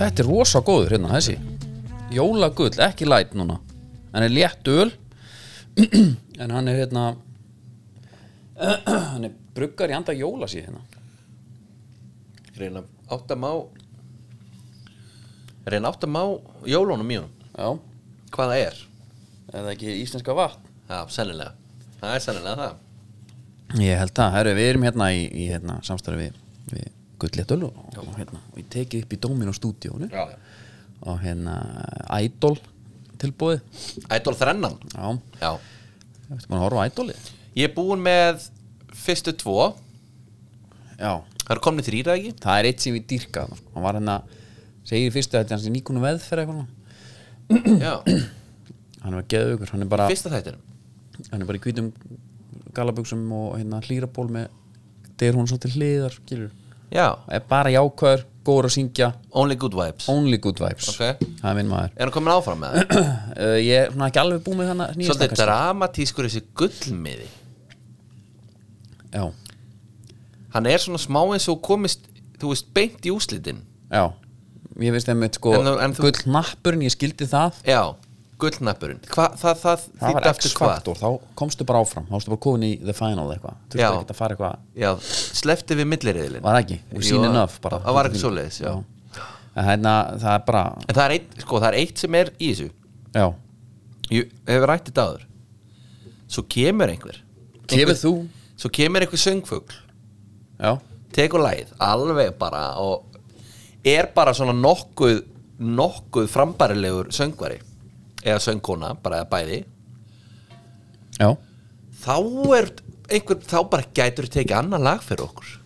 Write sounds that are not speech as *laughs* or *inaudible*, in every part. Þetta er rosa góður hérna þessi Jólagull, ekki light núna Hann er létt öl *clears throat* En hann er hérna *clears throat* Hann er bruggar í anda jóla síð hérna reyna að átta má reyna að átta má jólunum í honum Já, hvað það er er það ekki íslenska vatn? Já, sennilega það er sennilega það Ég held það, herru, við erum hérna í, í hérna, samstarfi við, við Gullétt Öl og, og hérna, og ég tekið upp í Dómin og stúdíónu já, já. og hérna Idol tilbúið Ædol þrennan Já, já. eftir maður að horfa á Idolið ég er búinn með fyrstu tvo Já, það eru komni þrýra ekki það er eitt sem við dýrka þarna, sko. hann var hérna, segir í fyrstu þetta er hans í nýkunum veðferð eitthvað svona. já, hann er geðugur, hann er bara *clears throat* fyrsta þættinum hann er bara í hvítum galabuxum og hérna hlýraból með deyr hún svo til hliðar, skilur já, er bara jákvæður, góður að syngja Only Good Vibes only good vibes, Ok. það er minn maður *clears throat* er hann komin áfram með það? uh, ég er svona ekki alveg búið með þannig nýjasta svolítið dramatískur þessi gullmiði kannski. já, hann er svona smá eins og komist þú veist, beint í úslitin já, ég veist einmitt sko En þú- en þú- gull nappurinn, ég skildi það já, gullnappurinn Hva, það, það, það þýddi var aftur hvað? x-faktor, þá komstu bara áfram þá varstu bara komin í the final eitthvað þurfti Já. ekki að fara eitthvað já, slefti við milliriðilin var það ekki, we've seen Jú, enough bara það var ekki svoleiðis, já. en hérna, það er bara en það er, eitt, sko, það er eitt sem er í þessu já, ég hef rætt þetta áður svo kemur einhver kefir þú svo kemur einhver söngfugl já, tekur lagið alveg bara og er bara svona nokkuð nokkuð frambærilegur söngvari eða söngkona, bara eða bæði já, þá er einhver, þá bara gætur tekið annan lag fyrir okkur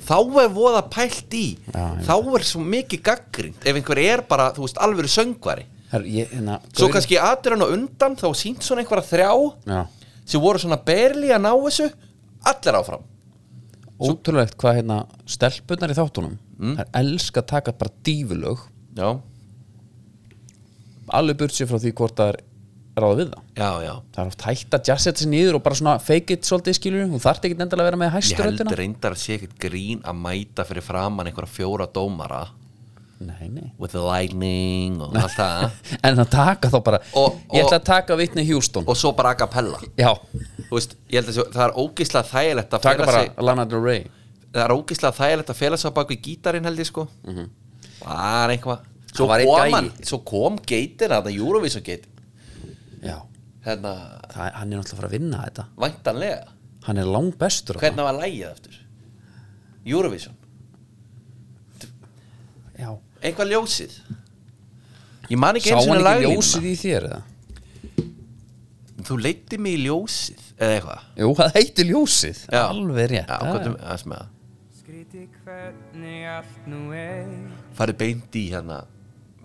þá er voða pælt í Já, þá er svo mikið gaggrind ef einhver er bara, þú veist, alveg söngvari Her, ég, hérna, svo gaurinn- kannski aðrir hann á undan þá sínt svona einhverja þrjá já, sem voru svona berli að ná þessu allir áfram ótrúlegt hvað hérna stelpunar í þáttunum mm. það er elska að taka bara dífulög já, alveg burt sér frá því hvort það er ráða við það já, já það er oft hægt að jazzetta sér niður og bara svona fake it svolítið skilur hún þarf ekki endalega að vera með ég held hæsturöldina reyndar að sé ekkert grín að mæta fyrir framann einhverja fjóra dómara nei, nei with the lightning og *laughs* allt það en að taka þá bara, Og- ég og- ætla að taka vitni Hjústón, og svo bara a cappella já, Þú veist, ég held að sé- það er ógislega þægilegt að taka fela bara sig Lana Del Rey það er ógislega þægilegt að fela sig á baku gítarinn held ég sko var einhvað svo Það var einn kom, gæi. hann, svo kom geitin að það Eurovision geit já, hérna, það, hann er náttúrulega að fara að vinna þetta væntanlega hann er lang bestur hvernig var lægið aftur Eurovision já. eitthvað ljósið ég man ekki sá eins og hann hann ekki ljósið ljósið í þér eða? þú leyti mig í ljósið eða eitthvað jú, það heitir ljósið, Já. alveg rétt já, hvað er það sem að Skrítið hvernig allt nú er farið beint í hérna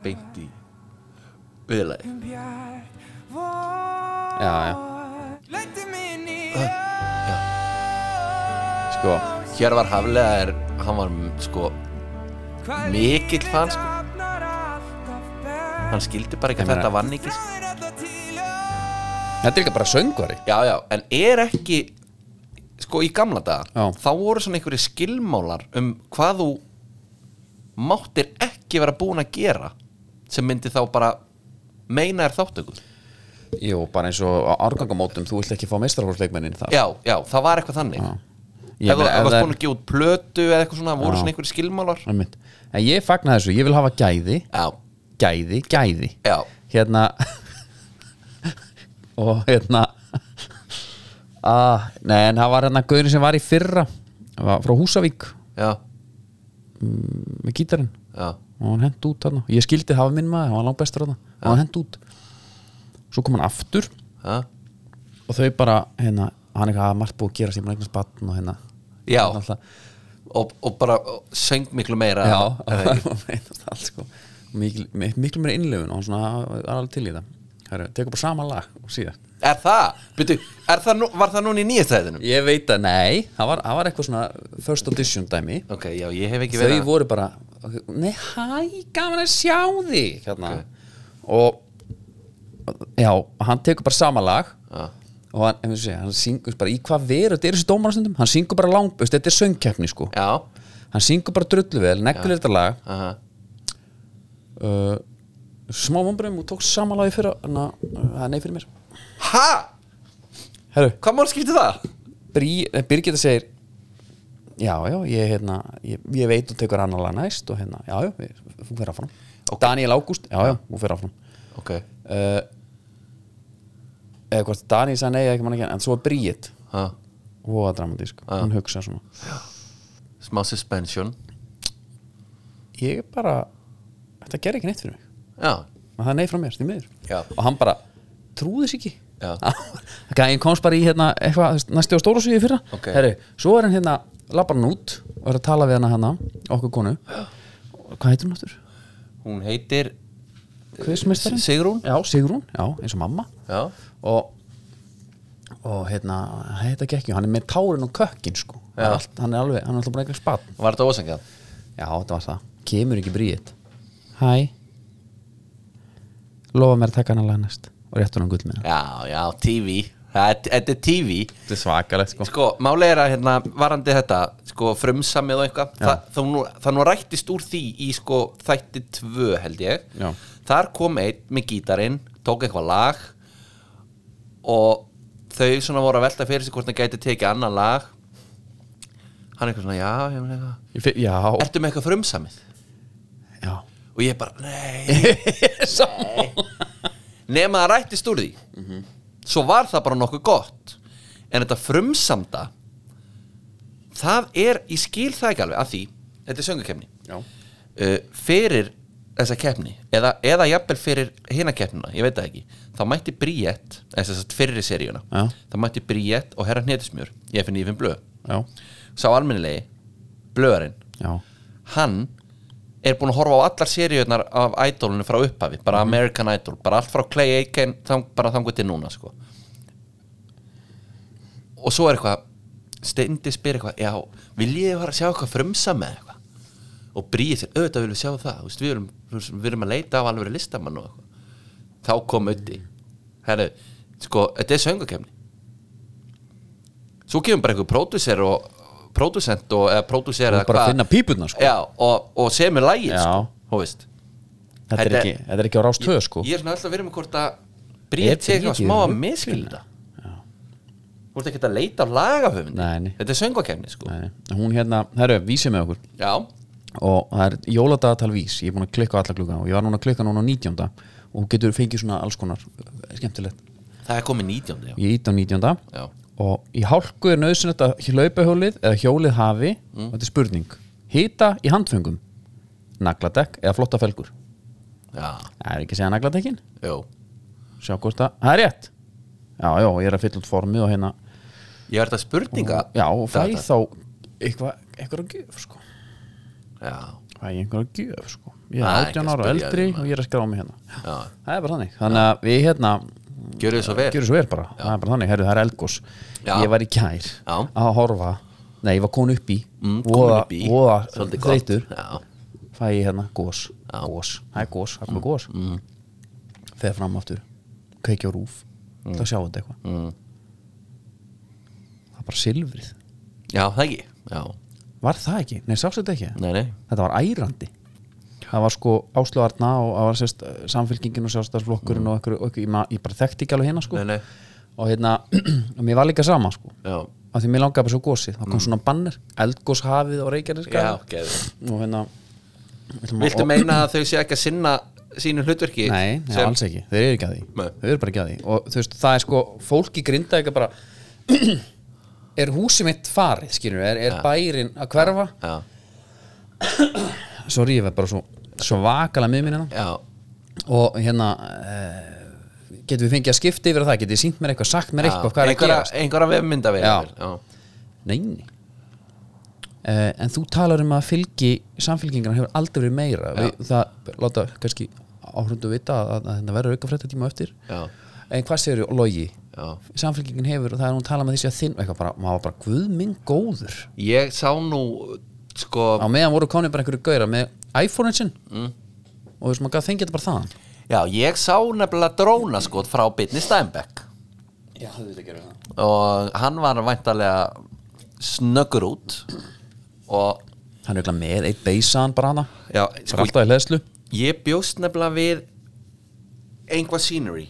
beint í viðlega Bjart vor Já, já. Lendi minn í sko, hér var Haflega er hann var mm, sko Hvað mikill lífið fan, sko. dafnar alltaf best. hann skildi bara ekki Ég að meina- þetta vann ekki sko. Nær alla til þetta er líka bara söngvari já já en er ekki sko í gamla daga Já. þá voru svona einhverju skilmálar um hvað þú máttir ekki vera búin að gera sem myndi þá bara meina þér þáttöku jú, bara eins og á árgangamótum þú vilt ekki fá meistarhórsleikmennin þar já, já, það var eitthvað þannig Ég ef þú meina, ef ef það varst er- búin að gefa út plötu eða eitthvað svona, voru Já. svona einhverjir skilmálar Einmitt. en ég fagna þessu, ég vil hafa gæði já, gæði, gæði já, hérna *laughs* og hérna *laughs* að, nei en það var hérna gauðin sem var í fyrra hann var frá Húsavík mm, já, með gítarinn já og hann hent út þarna ég skildi hafa minn maður, hann var langt bestur þarna og hann hent út svo kom hann aftur já, og þau bara hérna, hann eitthvað að margt búið að gera sem hann eignast batn og hérna já. Hann alltaf, Og, og bara og söng miklu meira já, *laughs* Eða ekki? hann eignast allt sko miklu, mik- miklu meira innlefun og hann svona hann er alveg til í það Heru, tekur bara sama lag og síðan er það, byrju, er það nú, var það núna í nýjastæðinum ég veit að nei, það var, það var eitthvað svona first audition dæmi ok, já, ég hef ekki þau verið að- voru bara nei, hæ, gaman að sjá þig hérna. og já, hann tekur bara sama lag Já. og hann, ef við segja, hann syngur bara í hvað veru, þetta er þessi dómarastundum hann syngur bara langt, veist, þetta er söngkeppni sko já, hann syngur bara drullu vel, neglir þetta lag Aha. uh, smá vombröðum og tók samanlagi fyrir hana, uh, nei fyrir mér Ha? Herru, Hvað mál skipti það? Brí, eh, Birgitta segir já, já, ég, hérna, ég, ég veit og tekur annar lag næst og hérna, já, já, við- hún fyrir áfram Daniel Ágúst, já, já, hún fyrir áfram Ok uh, eða hvort Daniel sagði nei, ekki mann ekki en svo er Bríett, ha. hún var dramatísk hún hugsa svona Smá suspension ég bara, þetta gerir ekki neitt fyrir mig Já og það er nei frá mér, því miður Já. og hann bara, trúði sér ekki Já. *laughs* hann komst bara í hérna, eitthvað, þú veist, næstu á stóra sviði fyrra Ok. Herri, svo er hann hérna, labbar hann út og er að tala við hana hana, okkur konu Og hvað heitir hún aftur? Hún heitir Kvistmeistarinn? Sigrún? Já, Sigrún, já, eins og mamma Já og og hérna, þetta gekk ju, hann er með tárin og kökkin sko, Það er allt, hann er alveg hann er alltaf bara eitthvað spatt Var þetta ósengað? Já, þetta var það. Kemur ekki bríðið. Hæ. Lofa mér að taka hann að laga næst. Og réttur hann gull með hann. Já, já, TV Það- Þetta er TV Þetta er svakalegt sko. Sko, málið er að hérna, varandi þetta sko, frumsamið og eitthvað það, það, nú, það nú rættist úr því í sko, þætti tvö held ég Já. þar kom einn með gítarinn tók eitthvað lag og þau svona voru að velta fyrir sig hvort hann gæti tekið annan lag hann eitthvað svona, já, ég meina eitthvað Já. ertu með eitthvað frumsamið? Já. og ég bara, *laughs* nei *laughs* nema það rættist úr því svo var það bara nokkuð gott en þetta frumsamda það er, ég skil það ekki alveg af því, þetta er söngukefni Já. uh, fyrir þessa keppni eða, eða jafnvel fyrir hina keppnina, ég veit það ekki þá mætti Bríett, eh, eða þess að fyrir seríuna Já. þá mætti Bríett og herra hnetismjör ég finn í finn blöð, Já. sá almennilegi blöðarinn Já. hann er búin að horfa á allar seríunar af idolinu frá upphafi, Mhm. bara American Idol bara allt frá Clay Aiken þang, bara þangu til núna sko. og svo er eitthvað Steindi spyr eitthvað, já, viljið þið fara að sjá eitthvað frumsam með eitthvað og bríði sér, auðvitað viljum við sjá það þú veist, við, erum, við erum að leita af alveg listamann og eitthvað þá kom ötti herru, sko, þetta er söngakefni svo kemur bara einhver pródusser og pródusent og eða pródusser Þú eða er bara að finna pípurnar, sko. já, og, og semur lægið Já. sko, þú veist Þetta er Þetta- ekki, þetta er ekki á rást höð sko. ég er svona alltaf að vera með hvort að Er bríðt sé Bríet eitthvað í smá að rugli? miskilda þú ert ekki að leita af lagahöfundi Nei, nei. þetta er söngakefni sko Nei, nei. Hún hérna, herru, vísi með okkur. já, Og það er jóladagatal vís. Ég er búin að klikka á alla klukka og ég var núna að klikka núna á 19. Og hún getur fengið svona alls konar eh, skemmtilegt. það er komið 19. já, Ég ít á 19. já. og í hálku er nöðsynlegt að hlaupahjólið eða hjólið hafi Mm. og þetta er spurning hýta í handfengum nagladekk eða flotta felgur já. það er ekki að segja nagladekkin Jú. sjá hvort að það er rétt já, já, ég er að fylla út formið og hérna Ég er þetta spurninga já, og fæ Data. þá eitthvað, eitthvað að gjöf sko Já, fæ ég einhver að gjöf sko ég Það er er ekki 18 að ára og spyrja eldri þig, maður. og ég er að skrá mig hérna já, það er bara þannig, þannig að við hérna gjöru þið svo vel gjörum svo vel bara, það er bara þannig, herru, það er eldgós Já. ég var í kær Já. að horfa nei, ég var komin upp í Mm, voða, komin upp í. voða Svolítið gott. þreytur Já, fæ ég hérna gós, gós það er gós, það Mm, er komið gós þegar fram aftur, kveikja á rúf þá sjáum þetta eitthvað Mm. það er bara silfrið já það ekki Já, var það ekki, nei, sástu þetta ekki nei, nei þetta var ærandi það var sko Áslu Arna og það var sérst samfélkingin og sjálfstæðsflokkurinn og einhverju, og einhverju, ég, ma- ég bara þekkti ekki alveg hérna sko Nei, nei. og hérna, *clears throat* og mér var líka sama sko Já, af því mér langaði bara svo gósi, þá kom svona banner eldgós hafið á Reykjaneska Mm. já, geðu og hérna ætlum að- Viltu og- meina að þau sé ekki að sinna sínu hlutverki? Nei, nei sem- alls ekki, þeir eru ekki að því Nei. Þeir eru bara ekki að því Og þú veist, það er sko, fólk í grinda ekki bara *clears throat* Er húsið mitt farið, skilur Er, er bærin að hverfa Já, Svo rífa bara svo, svo vakalega með mér hérna já, Og hérna eh, Getum við fengið að skipta yfir á það Getum við sínt mér eitthvað, sagt mér já. eitthvað Hvað er að Einhverja- gerast? Einhverja vefmynda við Já. já. Nei, nei Uh, en þú talar um að fylgi samfylkingarna hefur aldrei verið meira við, það láta kannski áhrundu vita að, að, að þetta verður auka fréttatíma á eftir Já. en hvað segir logi Já. samfélkingin hefur og það er hún talað með þessi að þinn eitthvað bara, maður var bara guð minn góður Ég sá nú sko á meðan voru komin bara einhverju gauðra með iPhone-in sinn mm. og þess maður gaf þengi þetta bara þaðan Já, ég sá nefnilega dróna sko frá Bitni Steinbeck já, þú veit ekki það og hann var væntalega snöggur út og hann er örugglega með eitt beysaðan bara hana Já, sko, sko, alltaf í hleðslu ég bjóst nefnilega við einhvað scenery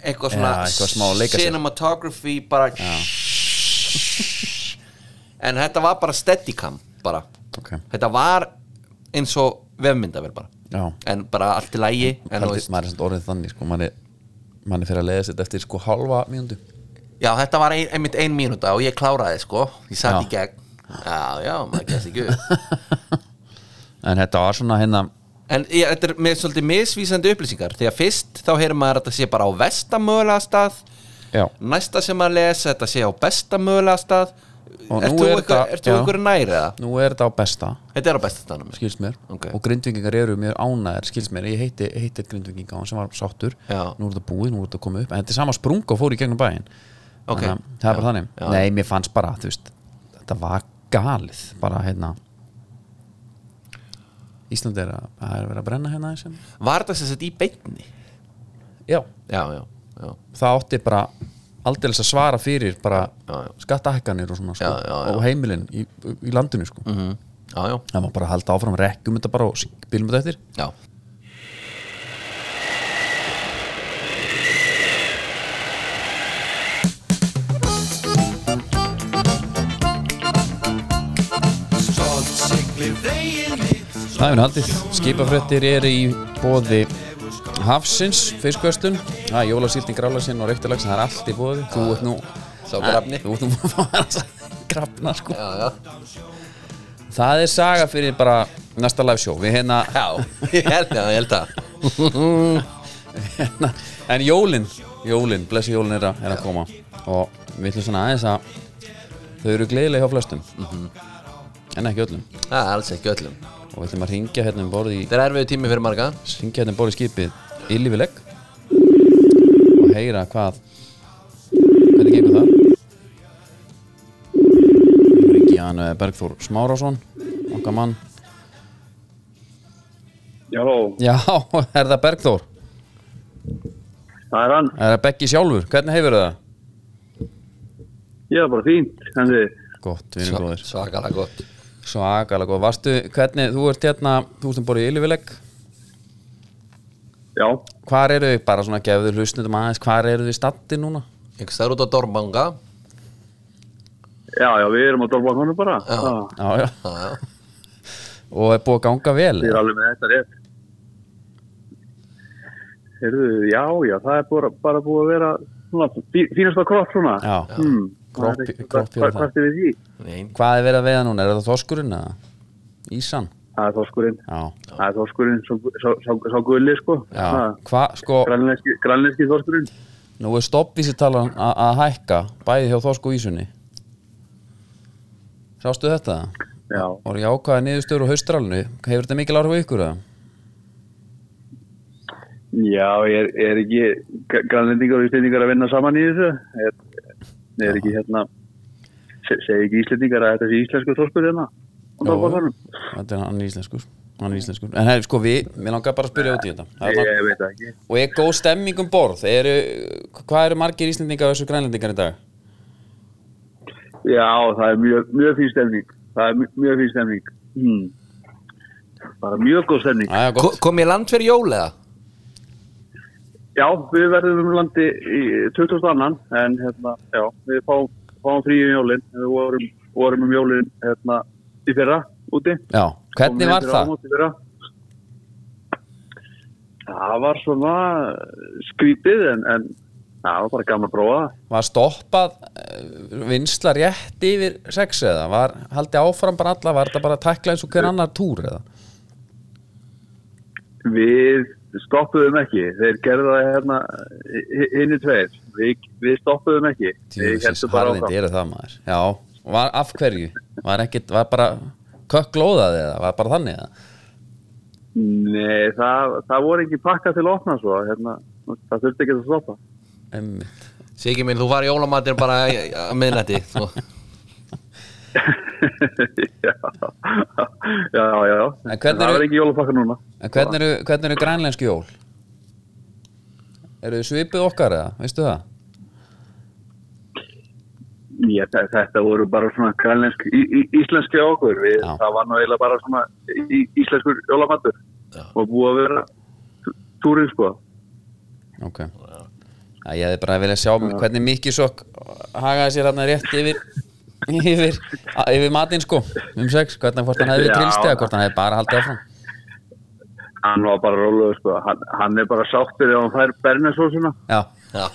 eitthvað Já, svona eitthvað smá að leika sér. cinematography bara *laughs* en þetta var bara steadicam bara Ok. þetta var eins og vefmyndavel bara Já. en bara allt í lægi en, þú Haldi, veist, maður er svona orðið þannig sko, maður er, maður er fyrir að leiða sér eftir sko halva mínúndu já þetta var ein, einmitt ein mínúta og ég kláraði sko ég Já. satt í gegn já já maður gæst ekki upp en þetta var svona hérna En ég, þetta er með svolítið misvísandi upplýsingar Þegar fyrst þá heyrir maður að þetta sé bara á vestamögulega stað já, Næsta sem maður les þetta sé á bestamögulega stað Og Ert nú þú er eitthvað- þetta- ert þú já. ykkur nær eða? nú er þetta á besta Þetta er á bestastanum sko. skilst mér Ok. og grindvingingar eru mjög ánæðir skilst mér, ég heiti, heiti eitt grindvinging á hann sem var sáttur Já. nú er þetta búið, nú er þetta komið upp en þetta er sama sprung og fór í gegnum bæinn Ok. Þannig að það er bara Já. þannig, Já. nei mér fannst bara þú veist, þetta var galið bara hérna Íslandi er að, það er verið að brenna hérna aðeins hérna. sko. Var þetta sem sett í beinni? já, Já, já, já það átti bara aldeilis að svara fyrir bara Já, já. skattahækkanir og svona sko, Já, já, já. og heimilin í, í landinu sko. mm Já, já, það var bara að halda áfram rekkum þetta bara og bílum þetta eftir já Það er haldið, skipafréttir eru í bóði Hafsins, fiskvöstun Það er jólasýlting, grálasinn og reyktilags Það er allt í bóði, þú ert nú Sá grafni. Nei, Þú ert nú *laughs* búin að fá þessa grafna sko Já, já, Það er saga fyrir bara næsta live show Við hérna, já, ég held að, ég held að hérna *laughs* En jólin, jólin, blessu jólin er að, er að koma Og við ætlum svona aðeins að Þau eru gleðilega hjá flestum En ekki öllum Það er alls ekki öllum Og við ætlum að ringja hérna um borði í Þetta er erfiðu tími fyrir marga syngja hérna um borð í skipið Ylvileg og heyra hvað hvernig gengur það Ríkjan eh, Bergþór Smárásson okkar mann Jáló, Já, *laughs* er það Bergþór? það er hann. Er það Beggi sjálfur? Hvernig hefur það? Ég er bara fínt, en þið, Gott, við erum góðir Svakalega gott Svakalega góð, varstu, hvernig, þú ert hérna þú sem borðið í Ylvileg já, Hvar eru þið, bara svona gefðu hlustnum aðeins Hvar eru þið statti núna? Einhvers það er út á Dormanga já, já, við erum á Dolbán honum bara. Já. Það- Já, já, Já, já og er búið að ganga vel Þið er alveg með þetta rétt. Heyrðu, já, já, það er bara, bara búið að vera svona, fí- fínasta kropp svona. Já, Hmm, Kropp- það er ekki- kropp hvað- fyrir Hvað er við því? Nei, Hvað er verið að veiða núna? Er það þoskurinn eða? Ísan? Það er þorskurinn, Já, það er þorskurinn, sá, sá, sá, sá gulli, sko. já. Hvað, sko, Grænlenski, grænlenski þorskurinn. nú er stoppvísitalan a- að hækka bæði hjá Þorsk og Ísunni Sástu þetta? Já, Og jákvæða niðurstöru á haustralinu Hefur þetta mikil áhrif á ykkur það? já, er, er ekki gr- grænlendingar og íslendingar að vinna saman í þessu? Er, er ekki hérna, se- segir ekki íslendingar að þetta sé íslensku þorskur hérna? á Dolbakanum? Þetta er hann íslenskur Hann er íslenskur En hef, sko, við, mér langar bara að spyrja út í þetta Það Ég, er lang- ég veit það ekki. Og er góð stemming um borð? Eru, hvað eru margir íslendingar og þessu grænlendingar í dag? Já, það er mjög, mjög fín stemning. Það er mjög, mjög fín stemning. Hmm. Bara mjög góð stemning. Æja, Ko- gott kom ég land fyrir jól eða? Já, við verðum um landi í 22. en hérna, já, við fáum, fáum frí um jólinn. Við vorum, vorum um jólinn hérna, í fyrra úti. Já, hvernig var það? það? Það var svona skrítið en, en það var bara gaman að prófa það. var stoppað eh, vinsla rétt yfir sex eða var haldið áfram bara alla var þetta bara að tækla eins og hver annar túr eða Við stoppuðum ekki. Þeir gerðu það hérna hinni tveir. Við, við stoppuðum ekki. Við Djöfisins heldum bara harðindi áfram. eru það maður já, og var af hverju var ekkit, var bara kökklóðað eða var bara þannig eða Nei, það, það voru ekki pakka til að opna svo. Hérna, það þurfti ekki að stoppa. *laughs* Einmitt. Siggi minn, þú var í jólamatir bara í- á miðnætti *laughs* þú- já, já, já. já. En hvernig það eru- var ekki jólapakka núna. en hvernig eru, hvernig eru grænlenski jól? eru þið svipið okkar eða, veistu það? Já, þe- þetta voru bara svona grænlensk, í, í, íslenski hjá okkur. Við, Já. það var nú eiginlega bara svona í, íslenskur jólamattur Já. og búið að vera túrin sko. ok Já, ég hefði bara viljað sjá hvernig Mikki Sokk hagaði sér hann rétt yfir yfir, a- yfir matinn sko um sex, hvernig hvort hann hefði Já. trillst eða hvort hann hefði bara haldið áfram Hann var bara róluður sko. Hann, hann er bara sáttur ef hann fær bernesósuna. Já, Já,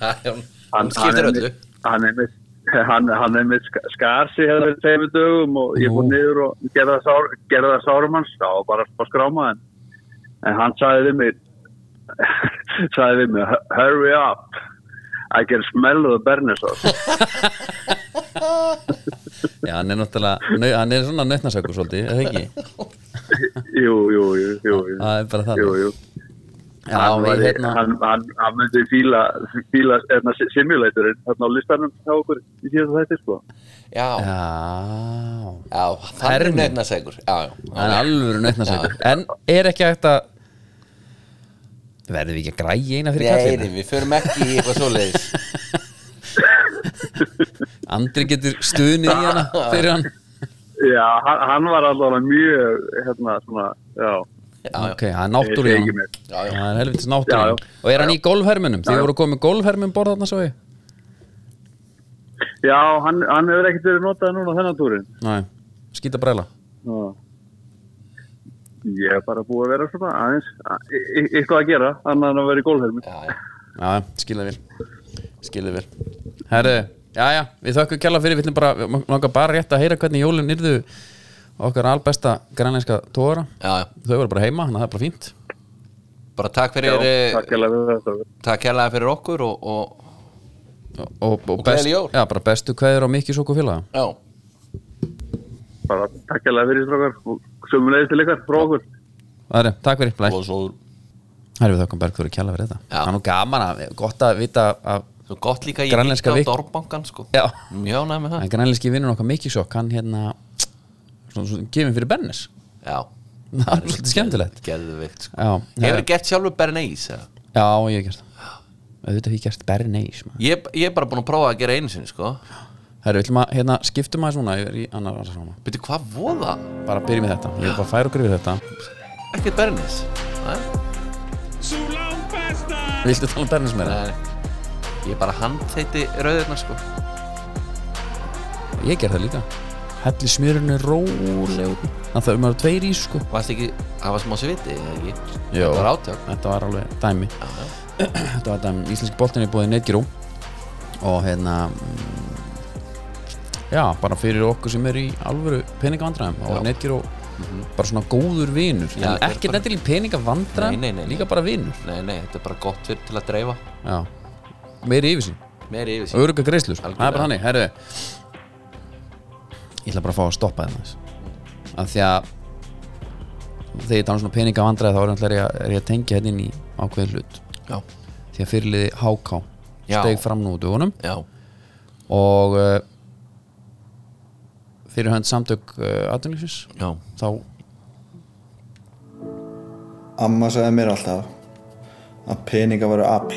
það er hún, Hann, hún skiptir hann er öllu mitt- Hann er mitt Hann, hann er með skarsi hefði verið tveimur dögum og ég fór Nú. niður og gerði það sár, gerði það sárum hans þá var bara að skráma en, en hann sagði við mig sagði við mig *laughs* hurry up I can smell the bernesósu *laughs* já hann er náttúrulega nau, hann er svona nautnasakur svolítið, eða ekki Jú, jú, jú, jú, jú. það er bara það jú, jú. Já, hann, við var, hérna hann, hann, hann myndi fíla, fíla hérna, simulatorinn þarna á listanum hjá okkur í síðan þetta sko. Já, Já, já, það er Herminn. nefnasegur Já, já, hann er já. alvöru nautnasakur En er ekki hægt að verðum við ekki að græja eina fyrir Nei, nei, kallina? við förum ekki í eitthvað svoleiðis *laughs* Andri getur stuðnið í *laughs* hana fyrir hann Já, hann, hann var allavega mjög, hérna, svona, já, Já, já, Ok, það er náttúru í Ég hann segi ekki meir. já, já. Það er helvitis Já, náttúrulega já. Og er hann í golfhermunum? Já, Þið já. voru komið golfhermum borð þarna svo ég já, hann, hann hefur ekkert verið notað núna þennan túrin. Næ, skýta bræla Já. Ég hef bara búið að vera svona aðeins, að- e- e- eitthvað að gera, annað en að vera í gólfermi. já, já. Já, skilðið vil Skilðið vil Herðu, já já, við þökkum kjalla fyrir Við ætlum bara, við langar bara rétt að heyra hvernig jólin yrðu Okkar albesta grænleinska tóra já, já. Þau voru bara heima, þannig að það er bara fínt Bara takk Já, fyrir eh, takk hérlega fyrir þetta. Takk hérlega fyrir okkur og, og Og, og, og gleðileg jól. já, bara bestu kveður á mikið sóku félaga Já, Bara takk hérlega fyrir strákar og sömulegis til ykkar, frá okkur. Herðu, takk fyrir, blæ og svo, Herðu, við þökkum Bergþóri kjalla fyrir þetta Já. Það er nú gaman að, gott að vita að svo gott líka ég Grænlenska líka á vik- Dorbangan sko Já Mjög næmi það En grænlíski vinnur okkar Mikki Sokk, hann hérna svona, svona, gefin fyrir Bennis *laughs* Já, Það er svolítið skemmtilegt geðvikt sko Já, Hefur gert sjálfur Bernays eða? já ég hef gert það Auðvitað hef ég gert Bernays maður. Ég, ég er bara búin að prófa að gera einu sinni sko Herru, viljum að hérna, skiptum aðeins núna yfir í annar rannsóna Byrju, hvað voða? Bara byrjum við þetta, ég vil bara færa okkur yfir þetta Ekkert Bernays Nei, Viltu tala um Bernays meira? nei Ég bara handteiti rauðirna sko Ég gerði það líka Helli smjörinu rólegur Þannig það um að vera tveir í sko Varst ekki, það var smá sviti eða ekki? Jó. Það var átök Þetta var alveg dæmi Þetta var dæmi Íslenski boltin er búið netgirú Og hérna mm, Já, bara fyrir okkur sem er í alvöru peningavandræðum Og Já. Mhm. netgirú bara svona góður vinur En Já, þetta er ekki bara- nættilega peningavandræðum Nei, nei, nei, nei. Líka bara vinur Nei, nei, þetta er bara gott fyrir til að dreifa Já Meiri yfirsýn Meiri yfir og sín öruga greiðslur það er bara Algjörlega. hannig, herru ég ætla bara að fá að stoppa þeim af því að þegar ég tala um svona peninga vandræði þá er náttúrulega er ég, er ég að tengja henni inn í ákveðin hlut Já, því að fyrirliði HK Já. steg fram nú úr dugunum já, og uh, fyrir hönd samtök uh, atvinnlífsins já þá Amma sagði mér alltaf að peninga varu afl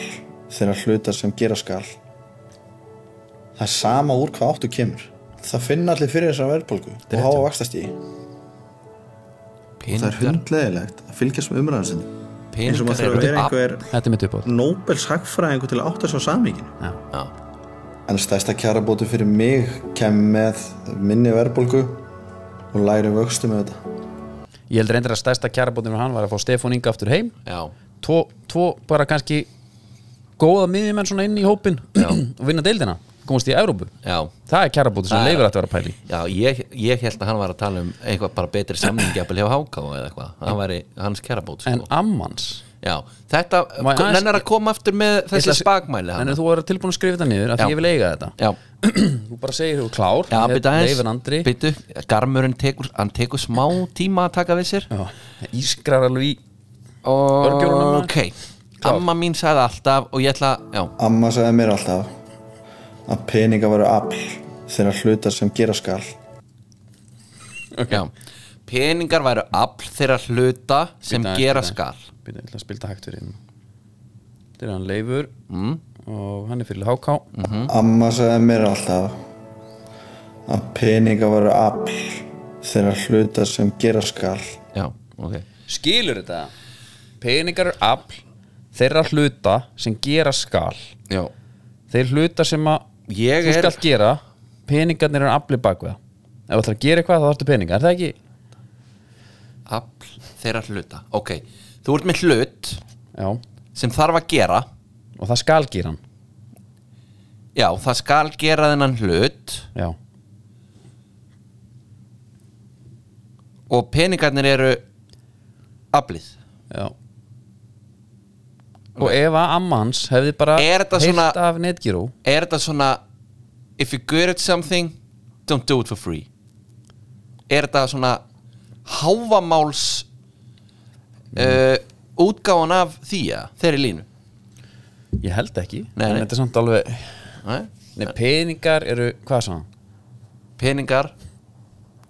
þeirra hlutar sem gera skal. Það er sama úr hvað áttu kemur. Það finna allir fyrir þessar verðbólgu og háa vaxtast í. Það er hundlegilegt að fylgjast með umræðarsinn. Eins og maður þurfa að vera einhver þetta er mitt uppátt Nobels hagfræðingu til að átta svo samíkinu. Já, En stærsta kjarabóti fyrir mig kem með minni verðbólgu og læri vöxtum með þetta. ég held reyndir að stærsta kjærabótið fyrir hann var að fá Stefán Inga aftur heim já, tvo, tvo bara kannski góða miðjumenn svona inn í hópin *clears throat* og vinna deildina, komast í Európu já það er kjarabóti sem Það er- leifur að vera að pæli Já, ég, ég held að hann var að tala um eitthvað bara betri samningi að byrja á háká eða eitthvað, hann væri hans kærabót en sko. ammans Já, þetta, Má ég aðeins- hann er að koma aftur með þessi spagmæli en hann þú er tilbúin að skrifa þetta niður að Já. því ég vil eiga þetta Já, *clears throat* þú bara segir þú er klár, já, Ég- byrja Leifur Andri aðeins Byrju, garmurinn tekur, hann tekur smá tíma að taka við sér Já, ískrar alveg í Örgjörunum. Ok, amma mín sagði alltaf og ég ætla, já, Amma sagði mér alltaf að peninga varu afl þeirra hlutar sem gera skal. já Peningar væru afl þeirra hluta sem Bíddu aðeins, gera bíddu skal aðeins. Bíddu, ég ætla að spilta hægt fyrir þér. þetta er hann leifur mm? og hann er fyrir háká Amma sagði mér alltaf að peninga varu afl þeirra hluta sem gera skal já, ok skilur þetta peningar er afl þeirra hluta sem gera skal já. þeir hluta sem að Ég þú er- skalt gera peningarnir eru afli bakveða ef þú ætlar að gera eitthvað þá þarftu peningar er það ekki afl þeirra hluta ok, þú ert með hlut já og sem þarf að gera það skal gera hann já, það skal gera þennan hlut já og peningarnir eru aflið já og ef að amma hans hefði bara Er þetta heyrt svona- af netgíró er þetta svona if you're good at something don't do it for free er þetta svona hávamáls uh, útgáfan af því að þeirri línu ég held ekki Nei, en nei. þetta er samt alveg Nei? nei, peningar eru hvað sann peningar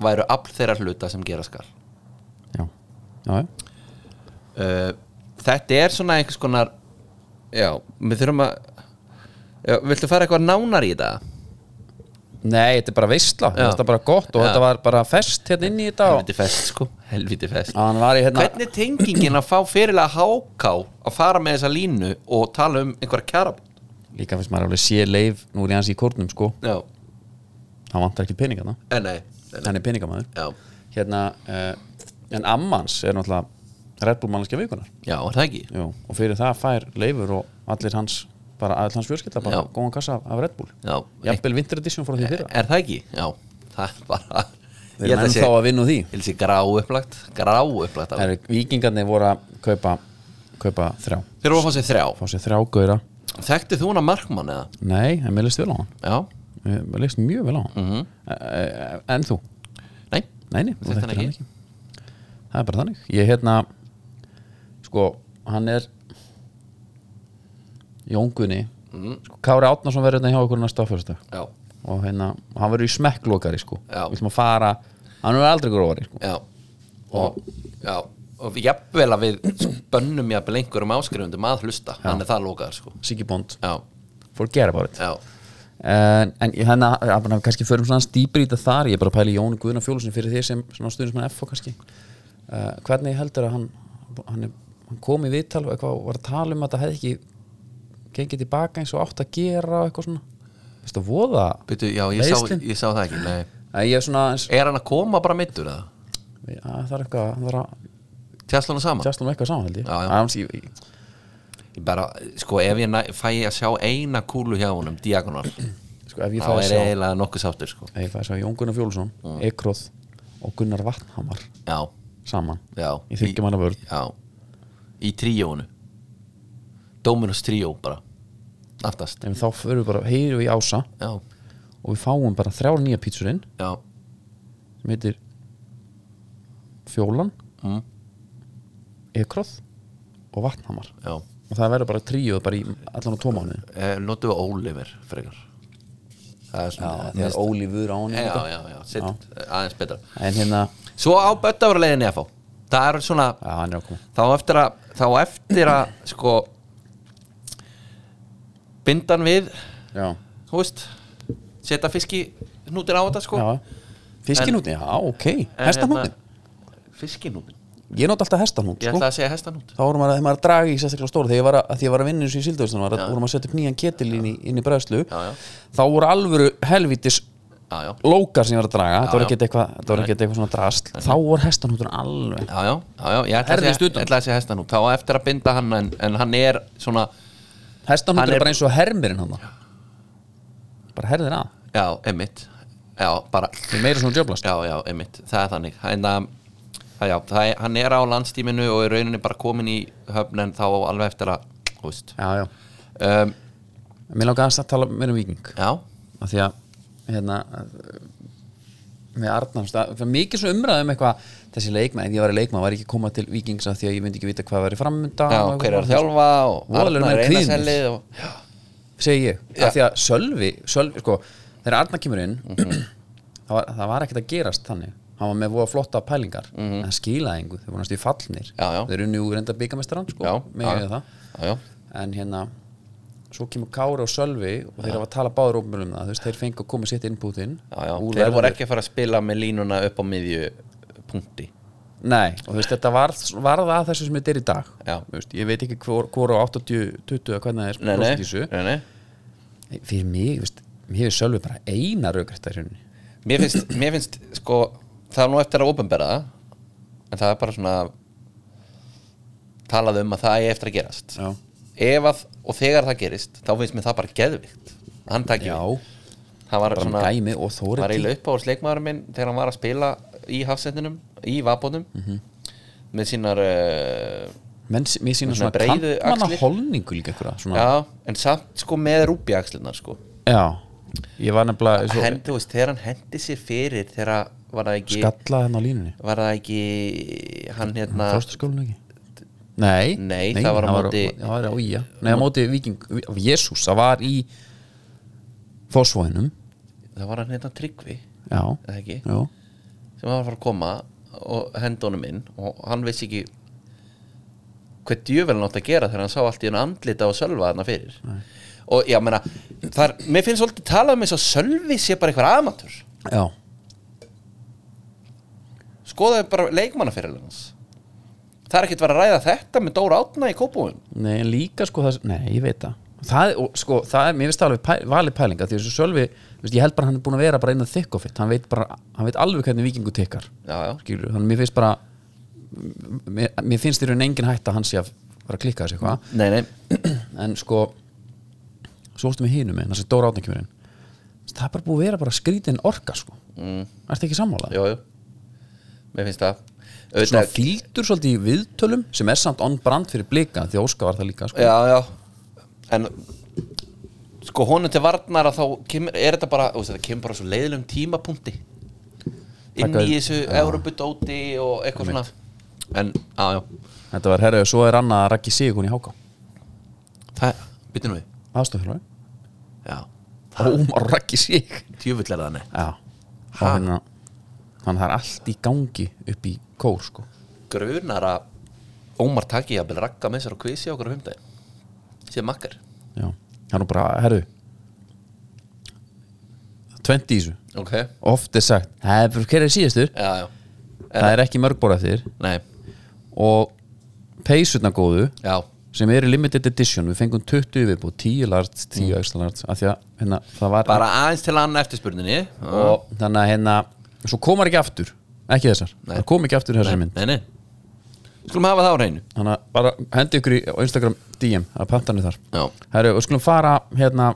væru afl þeirra hluta sem gera skal já já já. uh, þetta er svona einhvers konar já, við þurfum að já, viltu fara eitthvað nánar í þetta? nei þetta er bara veistla Já. þetta er bara gott og Já. þetta var bara fest hérna inn í þetta og helviti fest sko, helviti fest að hann var í hérna hvernig er tengingin að fá fyrirlega háká að fara með þessa línu og tala um einhverja kjara líka finnst maður alveg sé leif nú er ég hans í kórnum sko já, hann vantar ekki peningarna en nei, en, hann er peningamæður já, hérna uh, en ammans er náttúrulega Red Bull mannskja vikunar já, er það ekki Jú, og fyrir það fær leifur og allir hans bara all hans fjörskilla bara Já. góðan kassa af, af Red Bull já, jafnvel Winter Edition frá því fyrra er það ekki, já það er bara þeir eru ennþá að vinna úr því ég held Eh, að sé grá upplagt grá upplagt af- Heru, vikingarnir voru að kaupa, kaupa þrjá þeir eru að fá sér þrjá fá sér þrjá gauðra þekkti þú hana markmann eða? nei, en mér leist vel á hann já, Mér- mér leist mjög vel á hann mm -hmm. en þú? nei, Nei, nei, þú Þekkti þekktir hann hann ekki. Það er bara þannig Ég hérna Sko, hann er Jóngunni mm. sko, Kári Átnarsson verður hérna hjá okkur næsta áfyrsta já, Og hérna, hann verður í smekklokari sko Já. Við ætlum að fara Hann verður aldrei grófari sko já og, já, og jafnvel að við spönnum jafnvel einhverjum áskrifundum að hlusta hann er það lókaður sko Siggi Bond, já, forget about it já, En, en ég hérna, að bara kannski förum svona stýpri í þetta þar Ég er bara að pæla í Jónu Guðna Fjólusin fyrir því sem svona stuðnismann FH kannski uh, Hvernig heldur að hann hann, er, hann kom í viðtal og eitthvað og var að tala um að það hefði ekki gengið tilbaka eins og átt að gera og eitthvað svona Veistu að voða Byrju, já, ég sá, Meiðslin? ég sá það ekki nei. Nei, Ég er svona eins, Er hann að koma bara mittur eða? að, það er eitthvað það er að Tjastlana saman? tjastlum eitthvað saman held ég Já, já. Annars ég- ég- Ég bara, sko, ef ég næ, fæ ég að sjá eina kúlu hjá honum, diagonal Sko ef ég fæði þá að er sjá ef eiginlega nokkuð sáttur, sko ég fæði að sjá Jón Guðna Fjóluson, Ekroð og Gunnar Vatnhamar Já, saman já Ég þykja manna vörð Já, í tríónu Dominus tríó, bara Aftast, En þá förum við bara, heyrum við í Ása já, og við fáum bara þrjár nýja pítsurinn já sem heitir Fjólan mm, Ekroð og Vatnhamar Já, og það verður bara tríuð bara í allan á tómánu e, notum við Oliver, frekar Það er svona þegar Óli vur á hann Já, já, já, sitt, aðeins betra en hérna, Svo á böttaveruleginni að fá Það er svona já hann er að koma þá eftir að þá eftir að sko bindan við já, þú veist setja fiski hnútir á þetta sko hérna- já. fiskinúti, já ok En hestanúti, hérna, fiskinútin ég nót alltaf hestanút ég sko. ætla að segja hestanút þá vorum maður, þegar maður að draga í sérstaklega stóru þegar ég var að, að því ég var að vinna eins og í síldavistun var að, vorum að setja upp nýjan ketil inn í, inn í bræðslu Já, já. þá voru alvöru helvítis já já lókar sem ég var að draga, þetta voru já. ekkert eitthvað þetta voru ekkert eitthvað svona drast, þá voru hestanútur alveg já já, já, já ég ætla að Herðist segja, utan. ég ætla að segja hestanút þá á eftir að binda hann en, en hann er svona Hann Hestanútur er- er bara eins og hermirinn hann bara herðir að já emitt já bara það er meira svona djöblast já já emitt það er þannig hann, það, já, það er, hann er á landstíminu og er rauninni bara komin í höfn en þá á alveg eftir að þú veist já, já um, Mér langar aðeins að tala meira um viking já af því að hérna með Arnar það var mikið svo umræðum eitthvað þessi leikmenn, ef ég var í leikmenn var ég ekki að koma til vikings af því að ég myndi ekki vita hvað var í framönda já, hver er að þjálfa og Voðalegur Arnar með kvíðnir. Einarsselli og, segi ég, Já. Mhm. af því að Sölvi, Sölvi sko, þegar Arnar kemur inn *clears throat* það, var, það var ekkert að gerast þannig hann var með voða flotta pælingar en það skilaði engu, þau voru næstu í fallnir Mhm. Já, já. þeir eru nú reynda byggamestaran sko, já, megið það já, já, en hérna svo kemur Kári og Sölvi og þeir hafa að tala báður opnum um það þú veist, þeir fengu að koma sitt innbútin já, já. þeir voru ekki að fara að spila með línuna upp á miðju eh, punkti Nei, og þú veist, þetta varð, varð að þessu sem þetta er í dag Já. Þú veist, Ég veit ekki hvor, hvor á 80-20 að hvernig það er nei, nei, prósentísu. nei, nei. Fyrir mig, þú veist, mér hefur Sölvi bara eina raugrætt að hrjónni Mér, finnst, mér finnst sko það er nú eftir að openbera það en það er bara svona talað um að það er eftir að gerast Já, ef að, og þegar það gerist þá finnst mér það bara geðvikt hann takk Já. það var bara svona með gæmi og var Þóri eiginlega upp á sleikmaðurinn minn þegar hann var að spila í hafsendinum í vapónum með sínar uh, Menn, s- mér sína Svona svona breiðu kantmanna axlir. holningu líka ykkur svona, já, en samt sko með rúbjaxlunar sko. já, ég var nefnilega svo, Hend, þú veist, þegar hann hendi sér fyrir þegar var það ekki skallað hérna á línunni var það ekki hann hérna Frostaskólinu ekki Nei, Nei, það var á móti- Það var á Ía Nei, á móti Viking Jésús, það var í Fossvóðinum það var hann hérna tryggvi Já, eða ekki, já, sem hann var að fara að koma og henda honum inn og hann vissi ekki hvað djöfvelin átt að gera þegar hann sá allt í hann andlita og sölva þarna fyrir og já, menna, þar, mér finnst svolítið talað um eins og sölvi sé bara eitthvað amatur já. skoðaðu bara leikmannafyrirlega hans það er ekkert verið að ræða þetta með Dóra Átna í kópúum Nei, en líka sko það, nei, ég veit það Það, er- og, sko, það er, mér finnst það alveg pæ, valið pælinga því þessu Sölvi, þú veist, ég held bara hann er búin að vera bara einn að þykka fitt, hann veit bara, hann veit alveg hvernig vikingu tekkar, já, já, skilur þannig mér finnst bara m- mér, mér finnst þér en engin hætt að hann sé að vera að klikka þessi eitthvað, *clears throat* nei, nei en sko svo erstu með hinum en þessi Dóra átningkjöfurinn það er bara búið að vera bara skrítin orka sko mm. ertu ekki sammála? jú, jú. mér finnst það Svona Auðvitað- fýldur svolítið í viðtölum sem er samt on brand fyrir blika því að Óska var það líka sko. já, já en sko honum til varnar að þá kemur, er þetta bara, þú veist, þetta kemur bara á svo leiðilegum tímapunkti inn Taka- í þessu Európa-dóti og eitthvað svona en, já, já, þetta var herrið, svo er annað að Raggi Sigurkon í Háká það, byttu nú við aðstofþjálfari já, Ómar Raggi Sig tjöfull er það nei Já Ha? Þannig að- þannig að það er allt í gangi upp í kór sko grunar að Ómar taki að byrja rakka með sér og kvisi okkur á fimmdæði sem makkar, Já Það er nú bara, herru Tvent í þessu ok já, Oft er sagt "Það er bara- Hver er síðastur? já, Það er ekki mörgbóra þér nei, Og peysurna góðu já sem eru limited edition við fengum 20 viðbúð, 10 larts, 10 mm. extra larts af því að hérna, það var bara aðeins til hann eftirspurninni og, og þannig að hérna svo komar ekki aftur, ekki þessar Nei. það kom ekki aftur í þessari mynd nei, nei skulum hafa það á reynu þannig að bara hendi ykkur í á Instagram DM að pantanir þar Já. Herru, og skulum fara hérna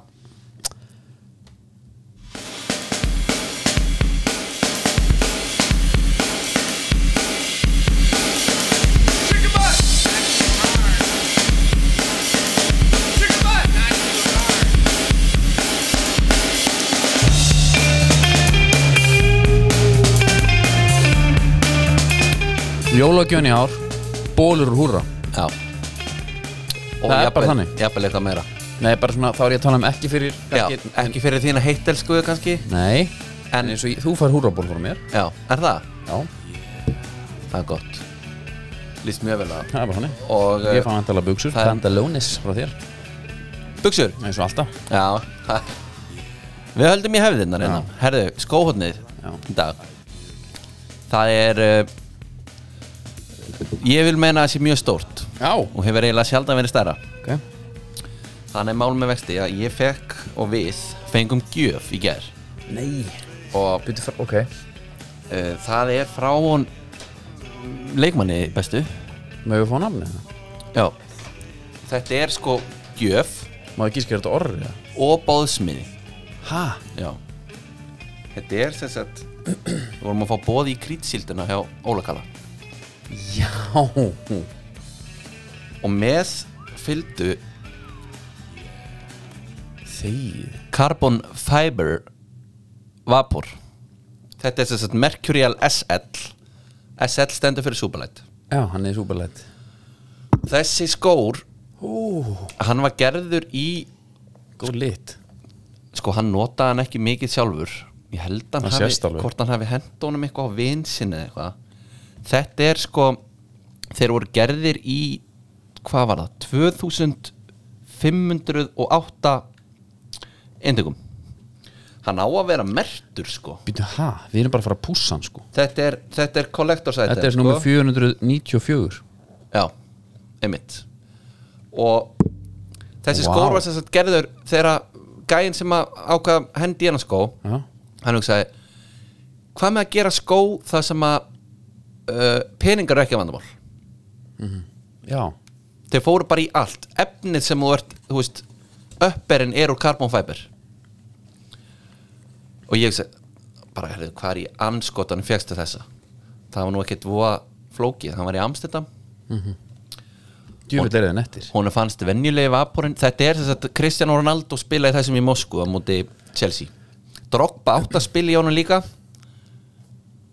jólagjöfn í ár bólur úr húra Já Og Það er bara jafnvel- þannig. Jafnvel eitthvað meira nei, bara svona, þá er ég að tala um ekki fyrir Já, kannski- ekki fyrir þína heittelskuðu kannski nei, En- en eins og ég, þú fær húraból frá mér Já, er það? já, Það er gott Lýst mjög vel að það er bara þannig Og eh, ég fá vantala buksur, það er- pantalones frá þér buksur eins og alltaf Já ha. Við höldum í hefðinnar hérna Herðu, skóhóttnið Já. í dag Það er uh, Ég vil meina að það sé mjög stórt já, Og hefur eiginlega sjaldan verið stærra ok, Þannig er mál með vexti að ég fekk og við fengum gjöf í ger nei Og Byrju, fara- ok, Uh, það er frá hún leikmanni bestu maður við fá nafnið það Já Þetta er sko gjöf maður ekki skilja þetta orðið eða? og bóðsmiði ha, Já Þetta er sem sagt *clears throat* Við vorum að fá bóð í krítsildina hjá Ólakala já Og með fylgdu þegið Carbon Fiber Vapor Þetta er sem sagt Mercurial SL SL stendur fyrir Superlight já, hann er súperlætt Þessi skór Ó, Hann var gerður í góð lit sko hann notaði hann ekki mikið sjálfur ég held hann Það hafi, sést alveg. hvort hann hafi hend honum eitthvað á vinsinni eða eitthvað þetta er sko þeir voru gerðir í hvað var það, 2004 508 eintökum hann á að vera mertur sko Býtu, hæ, við erum bara að fara að pússa hann sko þetta er, þetta er collector's item Þetta er sko. nummer 494 Já, einmitt Og þessi Vá. skór var sem sagt gerður þegar gæinn sem að ákvað hendi í hennar skó Já, hann hugsaði hvað með að gera skó það sem að uh, peningar er ekki vandamál já, þeir fóru bara í allt efnið sem þú ert, þú veist uppberinn er úr carbon fiber og ég segi bara herrið, hvað er í anskotanum fegstu þessa það var nú ekkert voða flókið, hann var í Amsterdam djúvill er það nettir hún fannst venjulegi vaporinn þetta er þess að Cristiano Ronaldo spilaði þessum í Moskú á móti Chelsea Drogba átt að spila í honum líka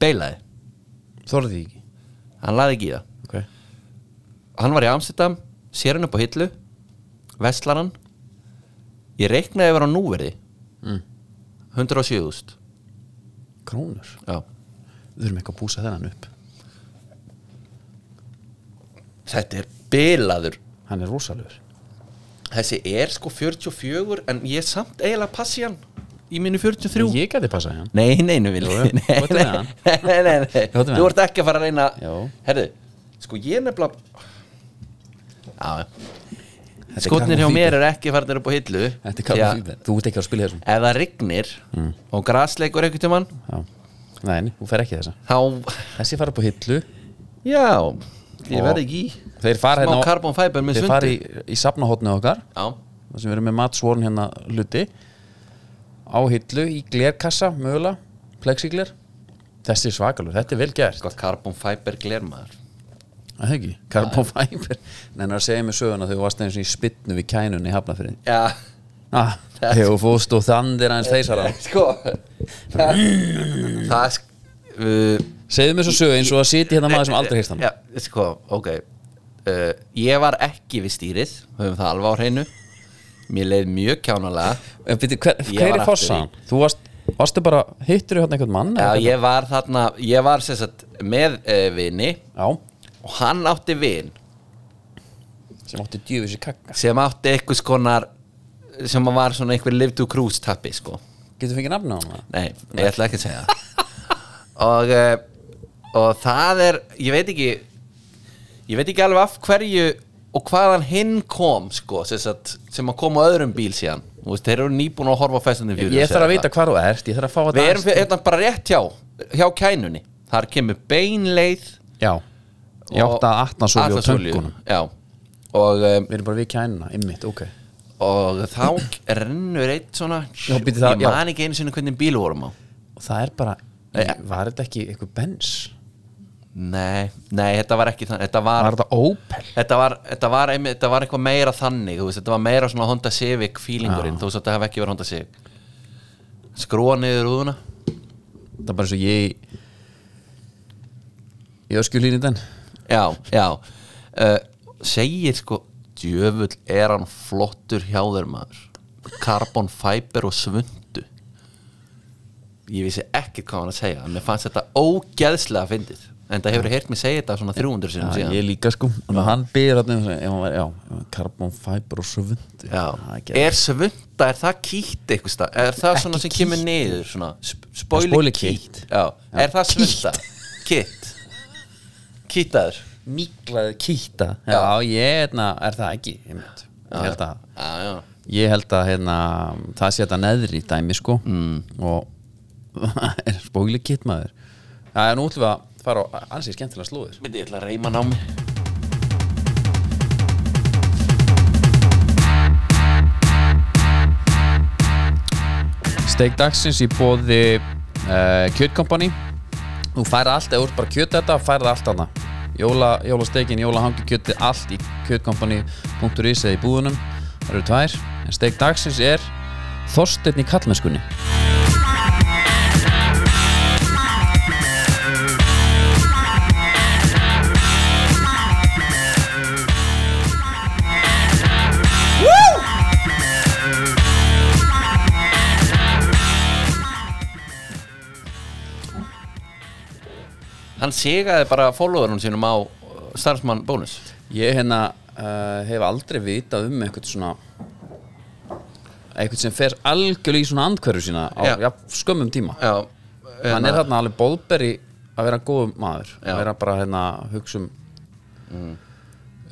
beilaði, Þorði því ekki hann laði ekki í það okay. hann var í Amsterdam, sér hann upp á hillu veslar hann ég reiknaði að vera á núverði Mm. 107.000 Krónur, Já. við þurfum eitthvað að pússa þennan upp þetta er bilaður Hann er rosalegur þessi er sko 44 en ég er samt eiginlega passi hann í mínu 43 Ég gæti passað í hann Nei, nei, nei, Vili Jú, jú. nei, nei, Þú ert með nei, hann. nei, nei, nei. Þú ert með Þú hann. ert ekki að fara að reyna Já. Herðu, sko ég nefnilega Já, já Þetta er Skotnir hjá carbon mér fiber. er ekki farnir upp á hillu Þetta er því að Mm. kallað fýber, þú ert ekki að spila í þessum Ef það rignir og grasleikur einhvern tímann Já, nei, nei, þú fer ekki í þessa Þá, Þessi fara upp á hillu já Ég Og- verð ekki í Þeir fara Smá hérna á- carbon fiber með Þeir fara sundi í, í safnahotnið okkar Já, þar sem við erum með matsvorn hérna hluti á hillu í glerkassa mögulega, plexigler þessi er svakalur, þetta er vel gert sko carbon fiber glermaður Það er ekki, carbon fiber Nei, það segja mér söguna þegar þú varst einu sinni í spytnu við kænunni í hafnafyrir Já, *laughs* ah, Þegar þú fóst og þandir aðeins þeisara *laughs* sko Það, það sk- uh, Segðu mér svo sögu eins og að sitja hérna maður sem aldrei heyrst hann Já, sko, ok uh, Ég var ekki við stýrið höfum það alveg á hreinu Mér leið mjög kjánalega En byrju, hver, Ég hver var er aftur fossan? Þú varst, varstu bara, hittur þú hérna einhvern mann? Já, eða ég var þarna, ég var sem sagt með uh, vini hvernig? og hann átti vin Já, sem átti djöfis í kakka sem átti einhvers konar sem var svona einhver live to cruise tappi sko Getur fengið nafna á hann? Nei, ég ætla ekki að segja það og, eh, og það er ég veit ekki ég veit ekki alveg af hverju og hvaðan hinn kom sko, sem, sagt, sem að kom á öðrum bíl síðan Þú veist, þeir eru nýbúin að horfa á festandi Ég, þarf að vita hvar þú ert, ég þarf að fá að við erum fyrir, hérna, bara rétt hjá hjá kænunni, þar kemur beinleið Já, ég og- átti að atna svo við á Atlasolíu, töngunum já og, um, Við erum bara við kænuna, ymmit, ok og þá rennur eitt svona Já, býttu það, ég já. man ekki einu sinni hvernig bíl við vorum á Og það er bara, Nei. var þetta ekki eitthvað bens? nei, nei, þetta var ekki þannig þetta var Var þetta Opel? þetta var, þetta var, einmitt, þetta var eitthvað meira þannig þú veist, þetta var meira svona Honda Civic feelingurinn þú veist að þetta hef ekki verið Honda Civic skrúa niður úðuna Það er bara eins og ég í- Í öskjulínu den já, já uh, segir sko djöfull er hann flottur hjá þér maður carbon fiber og svundu ég vissi ekkert hvað hann var að segja en mér fannst þetta ógeðslega fyndið en það hefur heyrt mig segja þetta svona 300 sinum Já, síðan ég líka sko Og hann byrði hann um ef hann var, já, ef hann- Carbon fiber og svund Já, er svunda, er það kýtt eitthvað stað? Er það svona sem kemur niður svona, sp- Spoiler Spoiler kýtt. kýtt Já, er það svunda? Kýtt Kýttaður Míklaði kýta Já, ég hefna, er það ekki ymmit Ég held að Já, já Ég held að hérna, það sé þetta neðri dæmi sko mm. og *laughs* það er spóli kittmaður Það er nú útlum við að fara á ansið skemmtilega slúður Myndi ég ætla að reyma námi Steik dagsins í bóði uh, kjötkompani Þú færa allt, ef þú ert bara kjöt þetta, færa það allt hana Jóla, jólasteikin, jólahangi kjötið, allt í kjötkompani.is eða í búðunum Það eru tvær En steik dagsins er Þorsteinn í kallmennskunni Hann sigaði bara followerunum sínum á uh, starfsmann bónus Ég hérna uh, hef aldrei vitað um eitthvað svona eitthvað sem fer algjörlega í svona andhverju sína á Já. já. skömmum tíma já hann er þarna alveg bóðberi að vera góðum maður Já. Mm. að vera bara hérna að hugsa um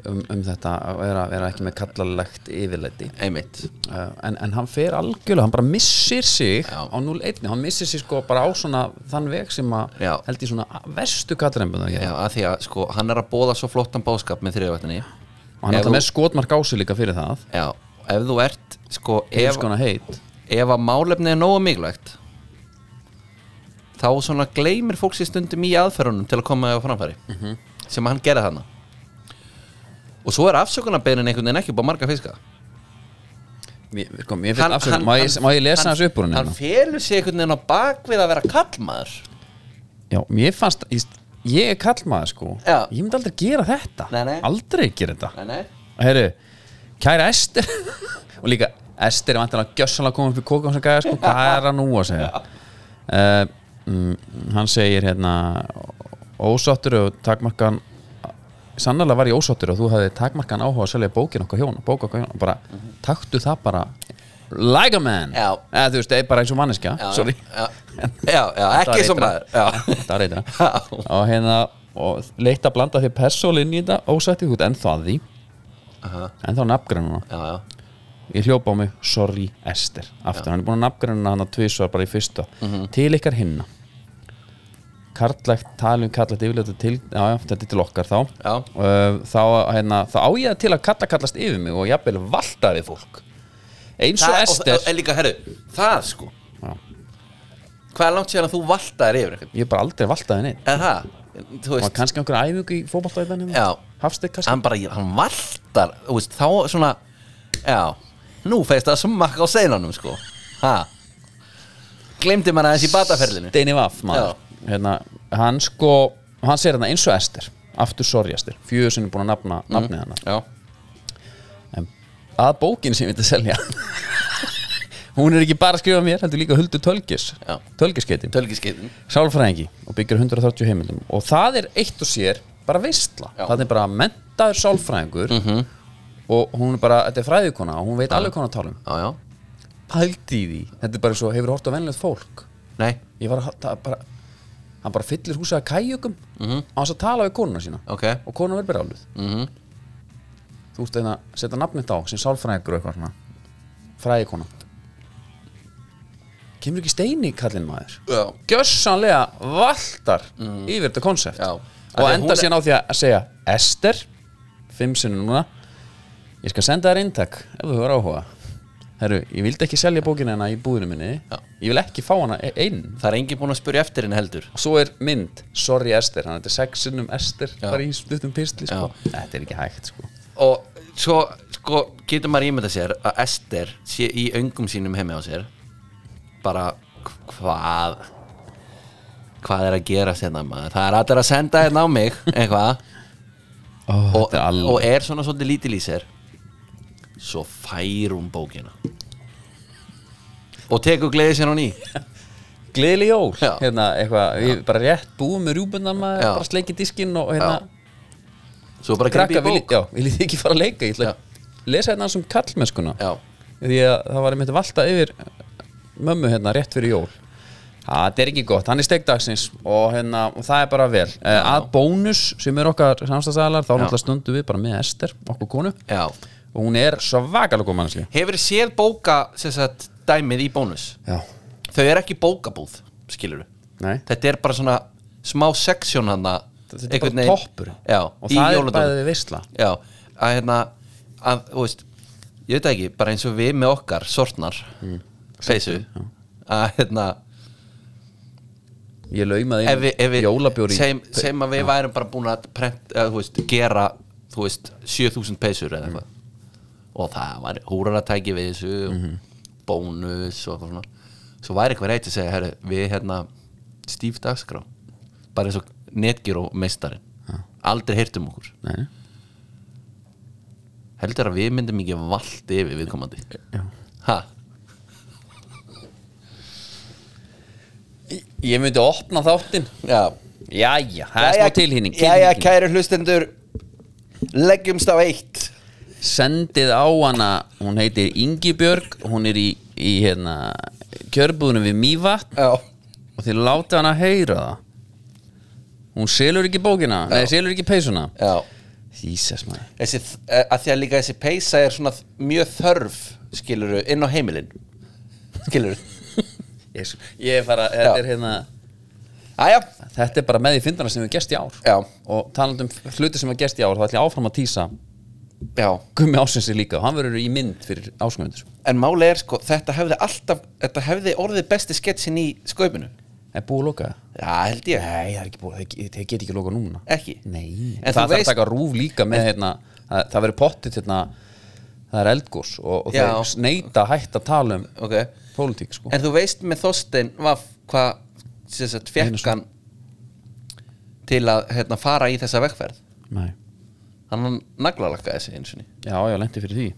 um, um þetta að vera, vera ekki með kallalegt yfirleiti einmitt uh, en, en hann fer algjörlega, hann bara missir sig Já. á 0-1, hann missir sig sko bara á svona þann veg sem að Já. held í svona verstu kallrembunar já, hér að því að sko hann er að bóða svo flottan bóðskap með þriðvættinni og hann er Ef alltaf þú- með skotmark á sig líka fyrir það já, ef þú ert sko hefur ef, skona heit ef að málefni er nógu mikilvægt þá svona gleymir fólk sér stundum í aðferðunum til að koma á framfæri Mhm. sem hann gera þarna og svo er afsökunarbeinin einhvern veginn ekki búið marga fiska mér, sko, mér finnst afsökun, má, ég- má ég lesa hans upp úr hérna? hann, hann hann felur sig einhvern veginn á bakvið að vera kallmaður já, mér fannst, ég, ég er kallmaður sko Já. ég myndi aldrei gera þetta Nei, nei. aldrei gera þetta nei, nei, Herru, kæra Ester *laughs* og líka Ester er vantilega gjössalega komið upp í kókum sem gæða sko, hvað er hann nú að segja uh, mm, hann segir hérna ósáttur og takmarkan sannlega var ég ósáttur og þú hafði takmarkan áhuga að selja bókin okkar hjón bók okkar hjón, bara taktu það bara like a man Já. eða þú veist, eða bara eins og manneskja já, sorry *laughs* já, já, já, ekki Þetta svo var maður *laughs* já, þetta var reyndra já, og hérna og leitt að blanda þér persól inn í þetta ósætti þú ert ennþá að því *laughs* Aha. ennþá nafngrænuna já, já. ég hljópa á mig, sorry Esther aftur, hann er búin að nafngræna hann að tvisvar bara í fyrsta, Mhm. til ykkar hinna karlægt talum karlægt yfirleitt til, já, já, þetta er til okkar þá Já. uh, þá, hérna, þá á ég til að kalla kallast yfir mig og jafnvel valta við fólk eins og Það- Esther og, og líka, herru, það sko Já. hvað er langt síðan að þú valtaðir yfir einhvern ég hef bara aldrei valtaði neitt eða það, þú og veist kannski einhver æfingu í fótballtæðan Já. hafstegg kannski hann bara, hann valtar þú veist, þá svona já, nú feist það smakk á seinanum sko, ha glemdi mann aðeins í bataferlinu Steini Vaff maður hérna, hann sko, hann segir hérna eins og Esther aftur sorry Esther, fjögur sinni búin að Mhm. nafna nafnið hennar já, að bókin sem ég veit að selja *laughs* hún er ekki bara að skrifa mér heldur líka Huldu Tölgis Já. Tölgiskeitin, tölgiskeitin sálfræðingi og byggir 130 heimildum og það er eitt og sér bara veistla, Já. Mhm. það er bara mentaður sálfræðingur -hmm. og hún er bara, þetta er fræðikona og hún veit alveg konar talum já, já, um. pælt í því, þetta er bara svo, hefur hort á venlegt fólk nei, ég var að, það bara hann bara fyllir húsið að kæjökum mm Mhm. -hmm. á þess að tala við konuna sína ok og konan verður brjáluð mm Mhm. þú ert hérna að setja nafnið á sem sálfræðingur og eitthvað svona fræðikona kemur ekki steini kallinn maður já, gjössanlega valtar yfir þetta konsept Mhm. Já. Af og því að hún enda er- síðan á því að segja Ester, fimm sinnum núna ég skal senda þér inntak ef þú hefur áhuga Herru, ég vildi ekki selja bókina hennar í búðinu minni Já. ég vil ekki fá hana e- inn það er engin búin að spurja eftir henni heldur og svo er mynd, sorry Ester hann þetta er sex sinnum Ester bara í stuttum pistli sko. þetta er ekki hægt sko. og svo, sko, getur maður ímynda sér að Ester sé í öngum sínum heimi á sér bara, hvað hvað er að gera sérna maður það er allir að senda hérna á mig eitthvað oh, og, þetta er alveg og er svona svolítið lítil í sér svo fær hún bókina og tekur gleði sér hún í Gleðileg jól Já. hérna, eitthvað, við bara rétt búum með rjúbunar maður, Já. bara sleikið diskinn og hérna, svo bara greipi krakka, í vil, bók já, vil ég ekki fara að leika ég ætla að lesa hérna sem kallmennskuna já, því að það var einmitt valta yfir mömmu hérna rétt fyrir jól Ha, það er ekki gott, hann er steikdagsins og, hérna, og það er bara vel eh, að bónus sem er okkar samstagsæðalar þá náttúrulega stundum við bara með Ester, okkur konu já. og hún er svakalega góð mannski hefur séð bóka sem sagt, dæmið í bónus Já, þau er ekki bókabúð, skilur nei þetta er bara svona smá seksjón hann Þetta er bara toppur já, Og í það er jóladóminn. bæðið við veistla Já, að hérna að, þú veist, ég veit það ekki, bara eins og við með okkar sortnar, Mm. feysu að hérna Ég laumaði ef við, ef við jólabjóri segjum, segjum að við værum bara búin að prent, að, veist, gera þú veist, 7000 peysur eða eitthvað og það var húraratæki við þessu Mhm. og bónus og eitthvað svona svo væri eitthvað reynt að segja, herri, við hérna stíf dagskrá bara eins og netgyró meistarin aldrei heyrtum okkur Nei, heldur að við myndum ekki vald yfir viðkomandi já. ha, Ég- Ég myndi opna þáttinn já Jæja, það er smá tilhýning kæru hlustendur leggjumst á eitt sendið á hana hún heitir Ingibjörg hún er í, í hérna kjörbúðunum við Mývatn Já, og þið látið hana heyra það hún selur ekki bókina nei, selur ekki peysuna já Jesus maður þessi, eh, að Því að líka þessi peysa er svona þ- mjög þörf skiluru inn á heimilin skiluru Jesus. ég er fara, þetta Já. er hérna Æja, þetta er bara með því fyndana sem við gerst í ár já, og talandi um hluti sem við gerst í ár þá ætla ég áfram að týsa já Gummi Ásinsi líka og hann verður í mynd fyrir ásköfundur En máli er sko, þetta hefði alltaf Þetta hefði orðið besti sketsin í sköpinu er búið að loka það? Já, held ég Nei, það er ekki búið, þeir, ge- þeir get ekki lokað núna Ekki? Nei, það En þú þarf að veist- taka rúf líka með hérna, það, það verður pottit hérna, það er eldgós og, og Já. þeir neita hætt að tala um Ok pólitík sko En þú veist með Þorstein Vaff hvað sem sagt Einarsson. fekkan til að hérna, fara í þessa vegferð Nei. hann naglalakkaði sig eins og Já, já, lendi fyrir því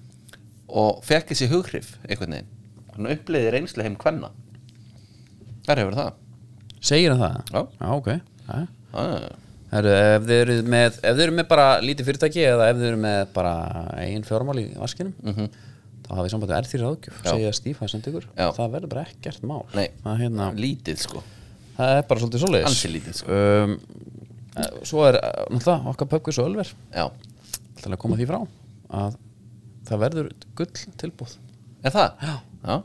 og fekk þessi hughrif einhvern veginn hann uppliði reynslu heim kvenna þar hefur það Segir hann það? Já. Já, ok Jæja. ah, Herru, ef þið eruð með, ef þið eruð með bara lítið fyrirtæki eða ef þið eruð með bara eigin fjármál í vaskinum þá hafið sambandið er því ráðgjöf Mhm. Já. segja stífa sem ykkur, Já. það verður bara ekkert mál Nei. það, hérna, lítið sko það er bara svolítið svoleiðis Ansi lítið, sko. um, eh, Svo er eh, náttúrulega okkar pöpkvís og ölver já, til að koma því frá að það verður gull tilbúð er það? Já.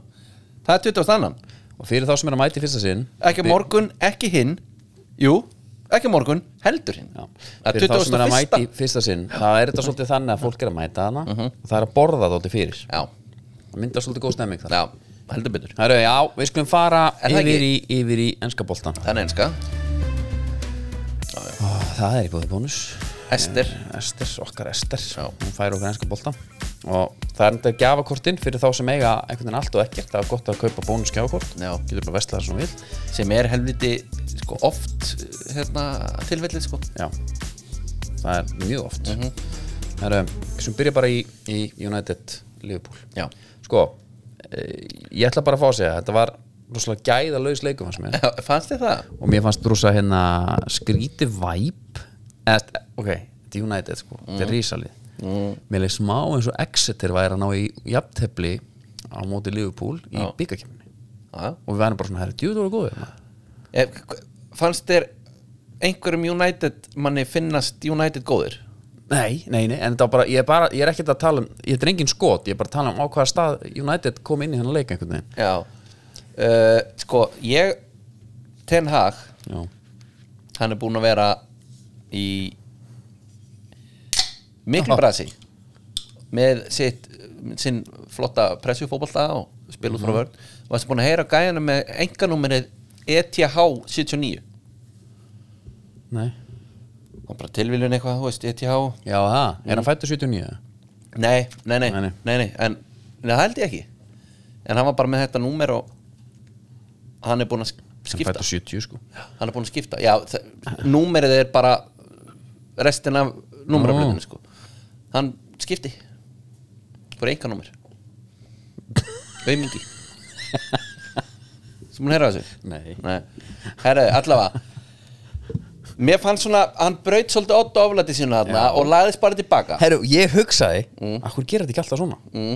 það er 20. annan og fyrir þá sem er að mæti fyrsta sinn ekki fyr- morgun, ekki hinn jú, ekki morgun, heldur hinn Já, það fyrir er þá sem er að mæti 21. fyrsta sinn það er þetta svolítið þannig að fólk er að mæta hana Mhm. og það er að borða þótti fyrir já, það myndar svolítið góð stemming þar já, heldur betur Herru, já, við skulum fara Er það yfir í, yfir í ennska boltan það er einska, Það er í bóði bónus Ester Ester, okkar Ester Já. Hún fær okkur ennska boltan Og það er þetta gjafakortin fyrir þá sem eiga einhvern veginn allt og ekkert Það er gott að kaupa bónus gjafakort Já. Getur bara vestlað það sem þú vill sem er helviti sko, oft hérna, tilfellið sko. Já, það er mjög oft mm -hmm. Herru, sem byrja bara í, í United Liverpool Já. Sko, e, ég ætla bara að fá að segja Þetta var rosalega gæða laus leikum fannst mér Já, fannst þið það? og mér fannst rosa hérna skríti væp eða, ok, þetta er United sko þetta er rísalið mér leik smá eins og Exeter væri að ná í jafntefli á móti Liverpool í Já. byggakefni Já. og við verðum bara svona, herri, djúður og góður maður." Ef, fannst þér einhverjum United manni finnast United góðir? nei, nei, nei, en þetta var bara ég er, bara, ég er ekkert að tala um, ég er drengin skot ég er bara að tala um á hvaða stað United kom inn í hennar leik einhvern veginn Já uh, Sko, ég Ten Hag, já, hann er búinn að vera í miklu brasi með sitt sinn flotta pressufótbolta og spil út frá vörn og varst búinn að heyra gæjana með E enganúmerið ETH 79 nei og bara tilviljun eitthvað, þú veist, E ETH já, það, er hann fættur 79 Nei, nei, Nei, nei, nei, nei. nei, en nei, það held ég ekki En hann var bara með þetta númer og hann er búinn að sk- hann skipta fættur 70 sko Hann er búinn að skipta, já, þa- númerið er bara restin af númeraflutinu, sko Hann skipti Hvor einka númer Aumingi Sem hún heyra þessu nei, Nei, herraði, allavega Mér fannst svona, hann braut svolítið Otto oflæti sína þarna og lagðist bara tilbaka Mm. Herru, ég hugsaði að hún gerir þetta ekki alltaf svona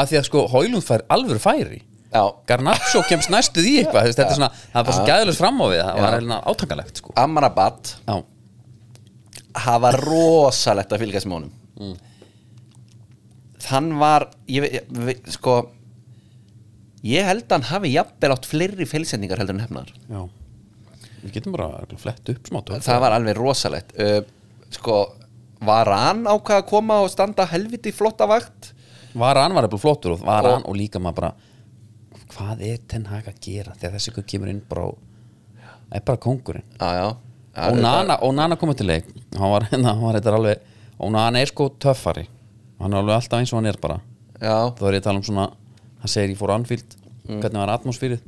að því að sko Hólund fær alvöru færi Já, Garnaccio kemst næstuð í eitthvað þú veist, þetta er svona, það er bara svo gæðilegt fram á við það var hérna átangalegt sko Amrabat Já, hafa rosalegt að fylgjast með honum Mm. hann var ég, ve- ég, ve- sko ég held að hann hafi jafnvel átt fleiri feilsendingar heldur en hefnar já Við getum bara örugglega flett upp smá tök það var alveg rosalegt uh, sko var hann ákvað að koma og standa helviti flotta vakt Varan var eitthvað flottur og Varan og líka maður bara hvað er Ten Hag að gera þegar þessi ykkur kemur inn bara og- er bara kongurinn já, já, og Nana, og Nana komið til leik hann var, hérna, hann var þetta alveg og Nana er sko töffari hann er alveg alltaf eins og hann er bara já, þá er ég að tala um svona hann segir ég fór á Anfield, Mm. hvernig var atmosfýrið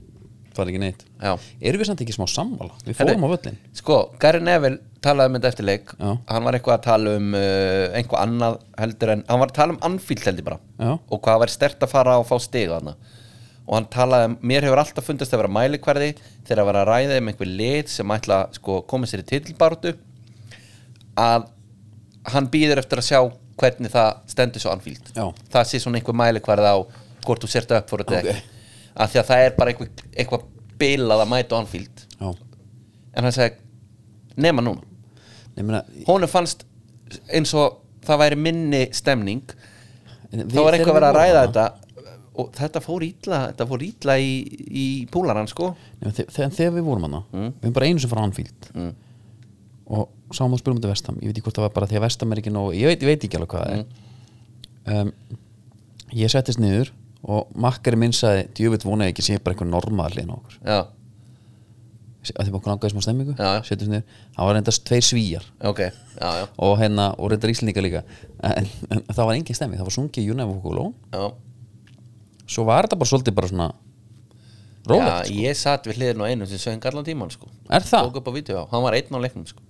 það var ekki neitt Já. erum við samt ekki smá sammála, við Herru, fórum á völlin Sko, Gary Neville talaði um þetta eftir leik Já. Hann var eitthvað að tala um uh, einhvað annað heldur en Hann var að tala um Anfield heldur bara Já. Og hvað var stert að fara og fá stiga þarna Og hann talaði um, mér hefur alltaf fundist að vera mælikverði Þegar að vera að ræða um einhver lið sem ætla að, sko, koma sér í titilbáratu Að hann býður eftir að sjá hvernig það stendur svo anfíld Já. það sé svona einhver mælikvarð á hvort þú sért upp fyrir þetta Ok. ekki af því að það er bara einhver, einhver bilað að mæta á anfíld Já. en hann sagði nema núna Nei, meina, honum fannst eins og það væri minni stemning En þá við- var einhver þeir að vera að voru ræða þarna. þetta og þetta fór ítla, þetta fór ítla í, í púlaran sko Nei, men þe- þegar, þegar við vorum hana Mm. við erum bara einu sem frá Anfield og sáum að spilum þetta Vestam ég veit ekki hvort það var bara því að Vestam er ekki nóg ég veit, ég veit ekki alveg hvað Mm. það er um, ég settist niður og makkari minn sagði djöfitt vonaði ekki sé bara einhver normaðarlin á okkur já, að því okkur langaði smá stemmingu Já, já. settist niður það var reyndast tveir svíjar ok, já, já, og hérna og reyndar Íslendinga líka en, en það var engin stemming það var sungið Júnef og Kóló já. svo var þetta bara svolítið bara svona já rólegt ég satt við hliðin á einum sem söng allan tíman sko Er það? tók upp á vídeo, hann var einn á leiknum sko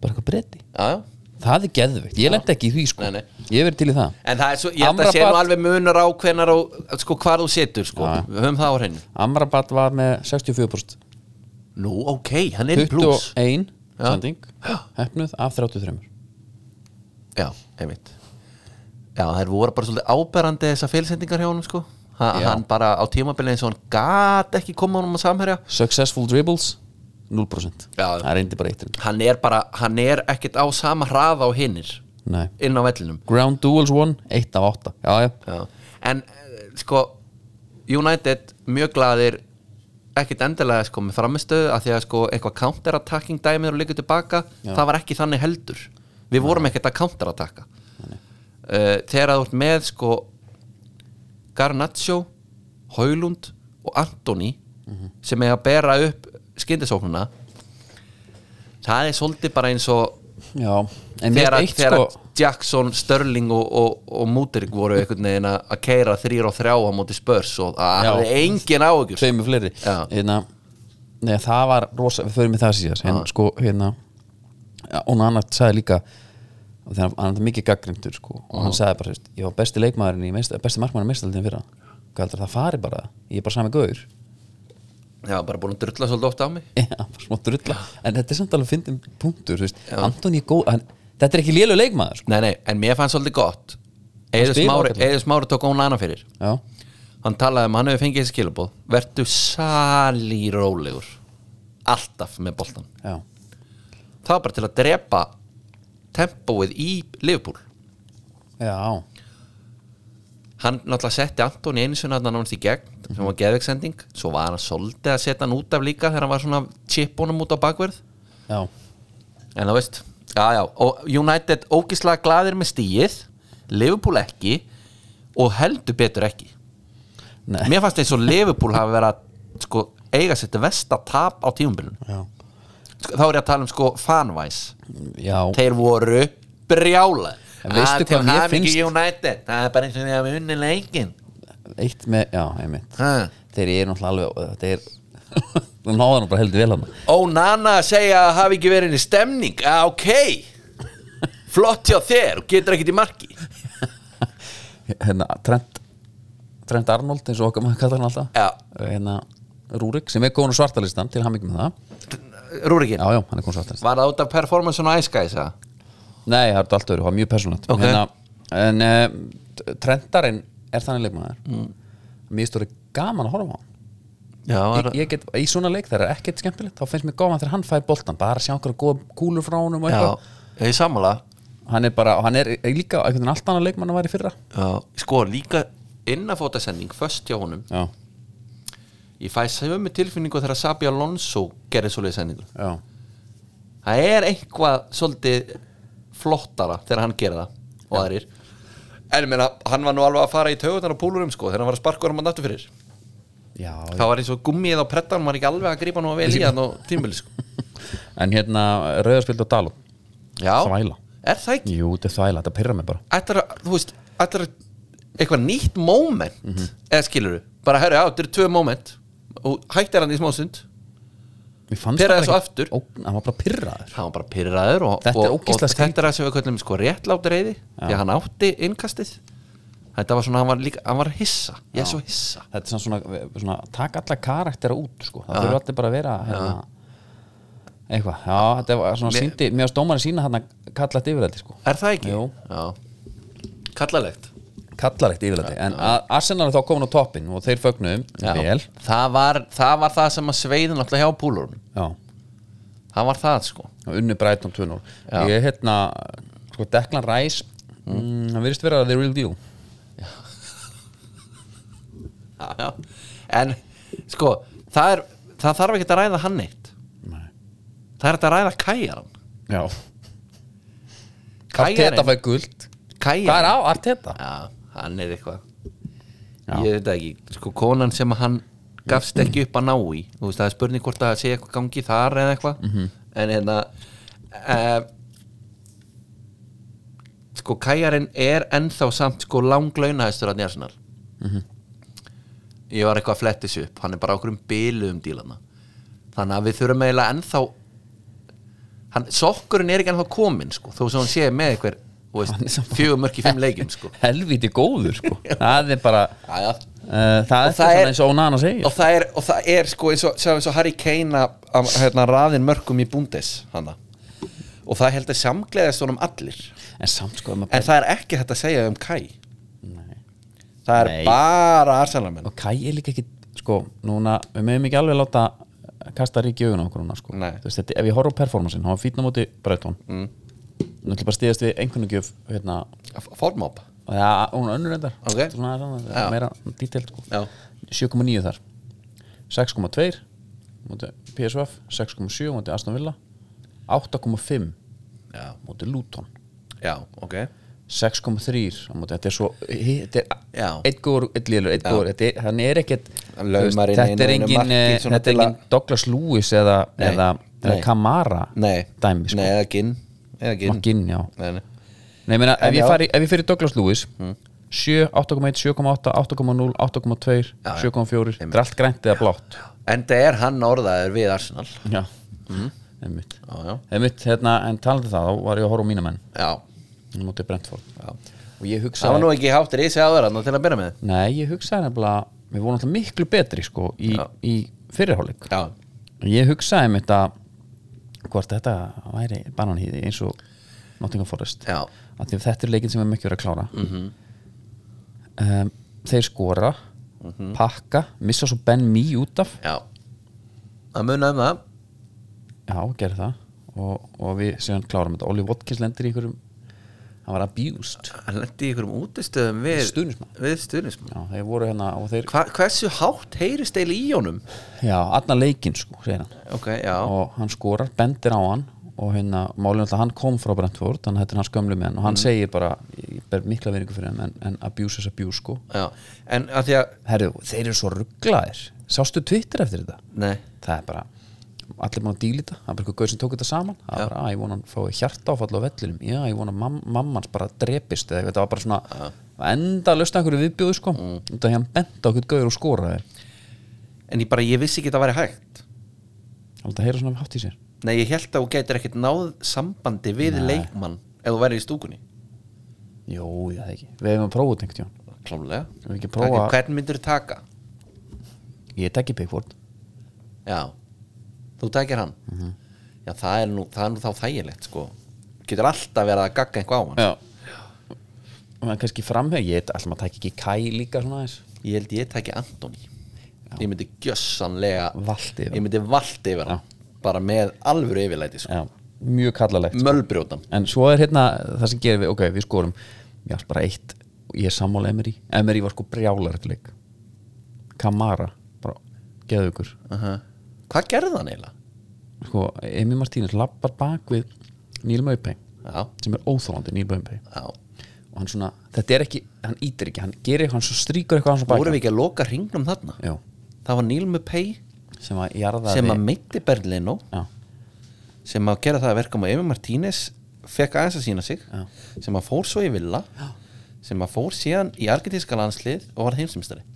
bara eitthvað breyti já, já það er geðveikt ég lendi ekki í því sko Nei, nei. ég hef verið til í það En það er svo, ég held að sé nú Amrabat- alveg munar á hvenar og, sko, hvar þú setur, sko Við höfum það á hreinu Amrabat var með 64% Nú, ok, hann er í pluss 21 Já. sending hefnuð af 33 Já, einmitt Já, þær voru bara svolítið áberandi þessar félsendingar hjá honum, sko ha, Já. Hann bara á tímabilið eins og hann gat ekki koma honum að samherja Successful dribbles 0% Já. það reyndi bara eittir Hann er bara, hann er ekkert á sama hraða á hinnir Nei. inn á vellinum Ground duels won 1 af 8 já, já. Já. En, eh, sko, United mjög glaðir ekkert endilega sko með framistöðu að því að sko eitthvað counterattacking dæmið og líka tilbaka, það var ekki þannig heldur við vorum ekkert að counterattacka uh, þegar þú ert með sko Garnaccio Haulund og Antoni sem er að bera upp skyndisóknuna það er svolítið bara eins og já en mér þegar, er að, eitt þegar sko að Jackson, Sterling og, og, og Múterik voru einhvern veginn að að keira þrýr og þrjá á móti spörs og það Já. hafði engin áhugjur tveimur fleiri Já. hérna, neða, það var rosa, við förum með það síðast en sko hérna ja, og hann sagði líka og þegar hann hann er mikið gaggrindur sko og hann sagði bara, þú veist, ég var besti leikmaðurinn í meist, besti markmaðurinn í meistaldinu fyrra hvað heldur það fari bara, ég er bara sami gaur *laughs* Já, bara búin að drulla svolítið oft á mig Já, bara smá drulla en þetta er samt alveg fyndin punktur þú veist, Antoni er góð, hann, þetta er ekki lélu leikmaður sko. Nei, nei, en mér fannst svolítið gott Eður spilar Smári, ágætlega. Eiður Smári tók hún annað fyrir já, Hann talaði um að hann hefur fengið þessi skilabóð Vertu salírólegur Alltaf með boltan já, Það var bara til að drepa tempóið í Liverpool já hann náttúrulega setti Antoni einu sinna hann nánast í gegn sem var geðveiksending svo var hann svolítið að setja hann út af líka þegar hann var svona chipunum út á bakverð já, en það veist já, já. og United ógislega gladir með stíið Liverpool ekki og heldur betur ekki Nei. mér fannst eins og Liverpool hafi verið að sko, eiga sér þetta versta tap á tíumbilun já, sko, þá er ég að tala um sko fanvæs já. þeir voru brjála En veistu hvað mér finnst? United, það er bara eins og því að við unni leikin eitt með, já, einmitt ha. þeir eru náttúrulega alveg þetta er, *laughs* þú náðan nú bara heldur vel hann Ó, Nana að segja að hafi ekki verið inn í stemning Já, ok Flott hjá þér, og getur ekkert í marki *laughs* hérna, Trent Trent Arnold, eins og okkar maður kallar hann alltaf Já. hérna, Rúrik, sem er góðan á svartalistan til hamingjum með það, Rúrikin, já, já, hann er góðan á svartalistan var það út af performance og æskæði það? nei, það er allt öðru, það var mjög persónlegt Hérna, Ok. en uh, Trentarinn er þannig leikmaður mm. mér stóri gaman að horfa á hann Já, ég, ég get, í svona leik þar er ekkert skemmtilegt þá finnst mér gaman þegar hann fær boltan bara að sjá okkur góða kúlur frá honum og eitthvað ég sammála hann er bara, og hann er líka einhvern veginn allt annað leikmann að var í fyrra Já, sko líka innafótasending Föst hjá honum já, Ég fæ sömu tilfinningu þegar Sabi Alonso gerði svoleiði sendingu já, það er eitthvað svolítið flottara þegar hann gerir það og aðrir en ég meina, hann var nú alveg að fara í taugutan á púlurum sko, þegar hann var að sparka hann að nattu fyrir já það var eins og gummið á prettan, hann var ekki alveg að grípa nú að vel í hann og tímbili *laughs* sko En hérna, rauðarspild og dalú já, Þvæla. er það ekki Jú, þetta er þvæla, þetta pyrra mig bara ætlar að, þú veist, ætlar að eitthvað nýtt moment eða skilur bara herri á, þetta eru tvö moment og hættir hann í smástund Mér fannst Pirraði það bara svo aftur. Ó, hann var bara pyrraður það var bara pyrraður og, Þetta er og, og ógeðslega skrítið. þetta er að sem við köllum sko réttláti reyði því að hann átti innkastið þetta var svona, hann var, líka, hann var hissa ég er svo hissa Þetta er svona, svona, svona takk alla karaktera út, sko Það þurfa allir bara að vera hérna, eitthvað, já, þetta var svona síndi mér varst dómarinn sína hann að kalla þetta yfirleiti sko. Er það ekki? Jú. Já Kallalegt kallar eitt yfirleiti, en að Arsenal er þá komin á toppin og þeir fögnuðum, vel það var, það var það sem að sveiðin alltaf hjá púlurinn já, Það var það sko og unnu Brighton 2-0 ég er hérna, sko Declan Rice mm, hann virðist vera the real deal Já, já. En sko það, er, það þarf ekki að ræða hann eitt Nei. Það er hægt að ræða kæjaran já, Arteta Kæjaran fæ guld hvað er Kæjaran á Arteta? Já, hann er eitthvað Já. Ég veit það ekki, sko konan sem að hann gafst ekki upp að ná í Þú veist, það er spurning hvort að segja eitthvað gangi þar eða eitthvað En hérna uh, Sko kæjarinn er ennþá samt sko langlaunahæstur að njársnar Ég var eitthvað að fletti þessu upp Hann er bara okkur um bilu um dílana Þannig að við þurfum eiginlega ennþá hann, Sokkurinn er ekki ennþá komin sko Þó sem hann sé með eitthvað Fjögur mörg í fimm leikjum sko helviti góður *laughs* sko það er bara, Jæja. uh, það er það svona er- eins og Onana segir og það er, og það er sko eins og, sjá, eins og Harry Kane að- að hérna, raðin mörgum í búndis hana. og það heldur samgleðast honum allir en samt sko, ef maður en það er ekki þetta að segja um Kai Nei. það er Nei. bara Arsenalmenn og Kai er líka ekki sko, núna, við meðum ekki alveg láta kasta ríki augun á okkur núna sko. Nei. Þú veist, þetta, ef ég horf á performancein, hann var fýtna móti Breiton mm. náttúrulega bara stíðast við einhvernugjöf hérna, Formop og það, hún er önnur endar Ok. svona, svona, svona, Já. meira dítelt sko. Já. 7,9 þar 6,2 móti PSVF 6,7 móti Aston Villa 8,5 já, móti Luton já, ok 6,3 á móti, þetta er svo þetta Já. er einn góður, einn lélur, einn góður þetta er, hann er ekkert Hann þú laumar inn þetta er einu- einu engin, marki eh, svona þetta er til að- engin Douglas Lewis eða, Nei, eða, eða nei. Kamara nei, dæmi, sko, nei, eða Ginn eða Ginn makinn, já Nei, nei. nei, ég meina, ef En já. Hmm. ég, fari, ef ég fyrir Douglas Lewis 7, 8,1, 7,8 8,0, 8,2, Já, já. 7,4 Einmitt. þetta er allt grænt eða blátt en það er hann orðaður við Arsenal já, Hmm. einmitt já, já, einmitt, hérna, en talandi það, þá var ég að horfa á mína menn já. mútið Brentford Já. og ég það var hugsaði nú ekki háttir í sig áður hann til að byrja með Nei, ég hugsaði nefnilega við vorum alltaf miklu betri sko í, Já. í fyrirháleik já, ég hugsaði með þetta hvort þetta væri bananhýði eins og Nottingham Forest Já. Mhm. Af því að þetta er leikin sem við mikið verið að klára -hmm. um, þeir skora Mhm. pakka, missa svo Ben Mee út af já það munaði um það já, gerði það og, og við séum klárum þetta Ollie Watkins lendir í einhverjum hann var abused hann lendi í einhverjum útistöðum við Við stuðningsmann. við stuðnismann. já, þeir voru hérna og þeir Hva, hversu hátt heyrist eil í honum já, allan leikinn sko, segir hann ok, já, og hann skorar, bendir á hann og hérna, málið alltaf hann kom frá Brentford þannig að þetta er hans gömlu menn og Mm. hann segir bara ég ber mikla veringu fyrir hann en, en abuse is abuse sko já. en að því að Herru, þeir eru svo rugglaðir sástu Twitter eftir þetta? nei, það er bara, allir mann að díla þetta það er bara eitthvað gauð sem tók þetta saman það Já. er bara, að ég vona hann fái hjartáfall á vellinum já, ég vona mam mammans bara drepist eða þetta var bara svona, enda að lösta einhverju viðbjóðu sko, mm. því að hann benda okkur gauður og skoraði, en ég bara, ég vissi ekki að það væri hægt alltaf heyra svona hátt í sér nei, ég held að þú getur ekkert náð sambandi við leikmann ef þú væri í stúkunni jú, ég það ekki, við hefum prófað tengt jón klálega, Ef ekki prófa- hvern myndur þú taka ég tekki Pickford já, þú takir hann já, það er, nú, það er nú þá þægilegt sko, getur alltaf verið að gagga einhvað á hann Já Og það kannski framheg, ég ætlum að taka ekki Kai líka svona aðeins ég held ég taki Antoni ég myndi gjössanlega Valti yfir ég myndi valdi yfir hann bara með alvöru yfirlæti sko. Já, mjög kallalegt mölbrjótan En svo er hérna það sem gerir við, ok, við skorum Já, bara eitt, ég er sammála Emery Emery var sko brjálar eftir leik Kamara, bara geðu ykkur hvað gerði hann eiginlega? Sko, Emi Martínez lappar bak við Neil Maupay Já, sem er óþólandi Neil Maupay já. og hann svona, þetta er ekki, hann ítir ekki hann gerir eitthvað, hann svo stríkur eitthvað hann svo vorum baka við ekki að loka hringnum þarna Já, það var Neil Mupay sem að jarðaði sem að meitti Berlino Já, sem að gera það að verka með Emi Martínez fekk aðeins að sína sig Já. sem að fór svo í Villa sem að fór síðan í argentinska landslið og var heimsumstari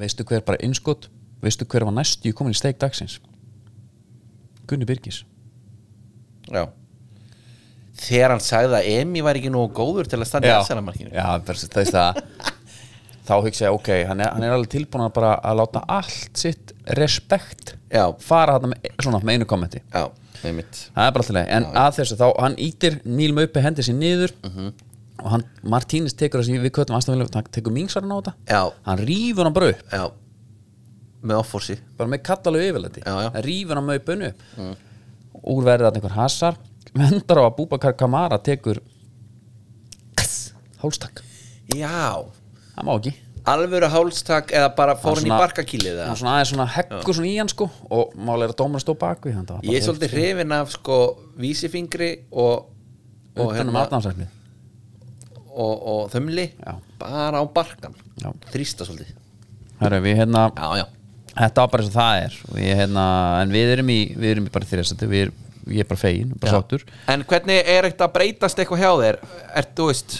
veistu hver bara innskot veistu hver var næstu komin í steik dagsins Gunni Birgis já. þegar hann sagði að Emi var ekki nógu góður til að standa í aðsælamarkinu já versus, þess að þá hugsa ég ok, hann er, hann er alveg tilbúin að bara að láta allt sitt respekt Já. fara þarna með, svona, með einu kommenti já einmitt það er bara alltaf leið, en að þessu þá hann ítir Nílum uppi hendi sér niður Mhm. og hann, Martínez tekur þessi við köttum aðstæðanlega, hann tekur mingsarinn á þetta Já. hann rýfur hann bara upp, Já, með offorsi bara með kallalegu yfirleiti Já, já. hann rýfur hann með uppinu upp mm. úr verður þetta einhver hasar vendar á að Búbakar Kamara tekur kass, hálstak Já, það má ekki alvöru hálstak eða bara fór Hann hann í svona- barkakýlið hann eða? svona aðeins svona heggur svona í hann sko og málega er að dómar að stóð bak við hann það var bara Ég er svolítið hrifin af sko vísifingri og og, utan hérna, um aðnámsæknið og, og þömli Já. bara á barkan Já. þrýsta svolítið Herru, við hérna, Já, já, þetta var bara eins og það er við, hérna, en við erum í, við erum í bara þrjastandi, við erum, ég er bara fegin bara sáttur, En hvernig er þetta að breytast eitthvað hjá þér? Er, þú veist,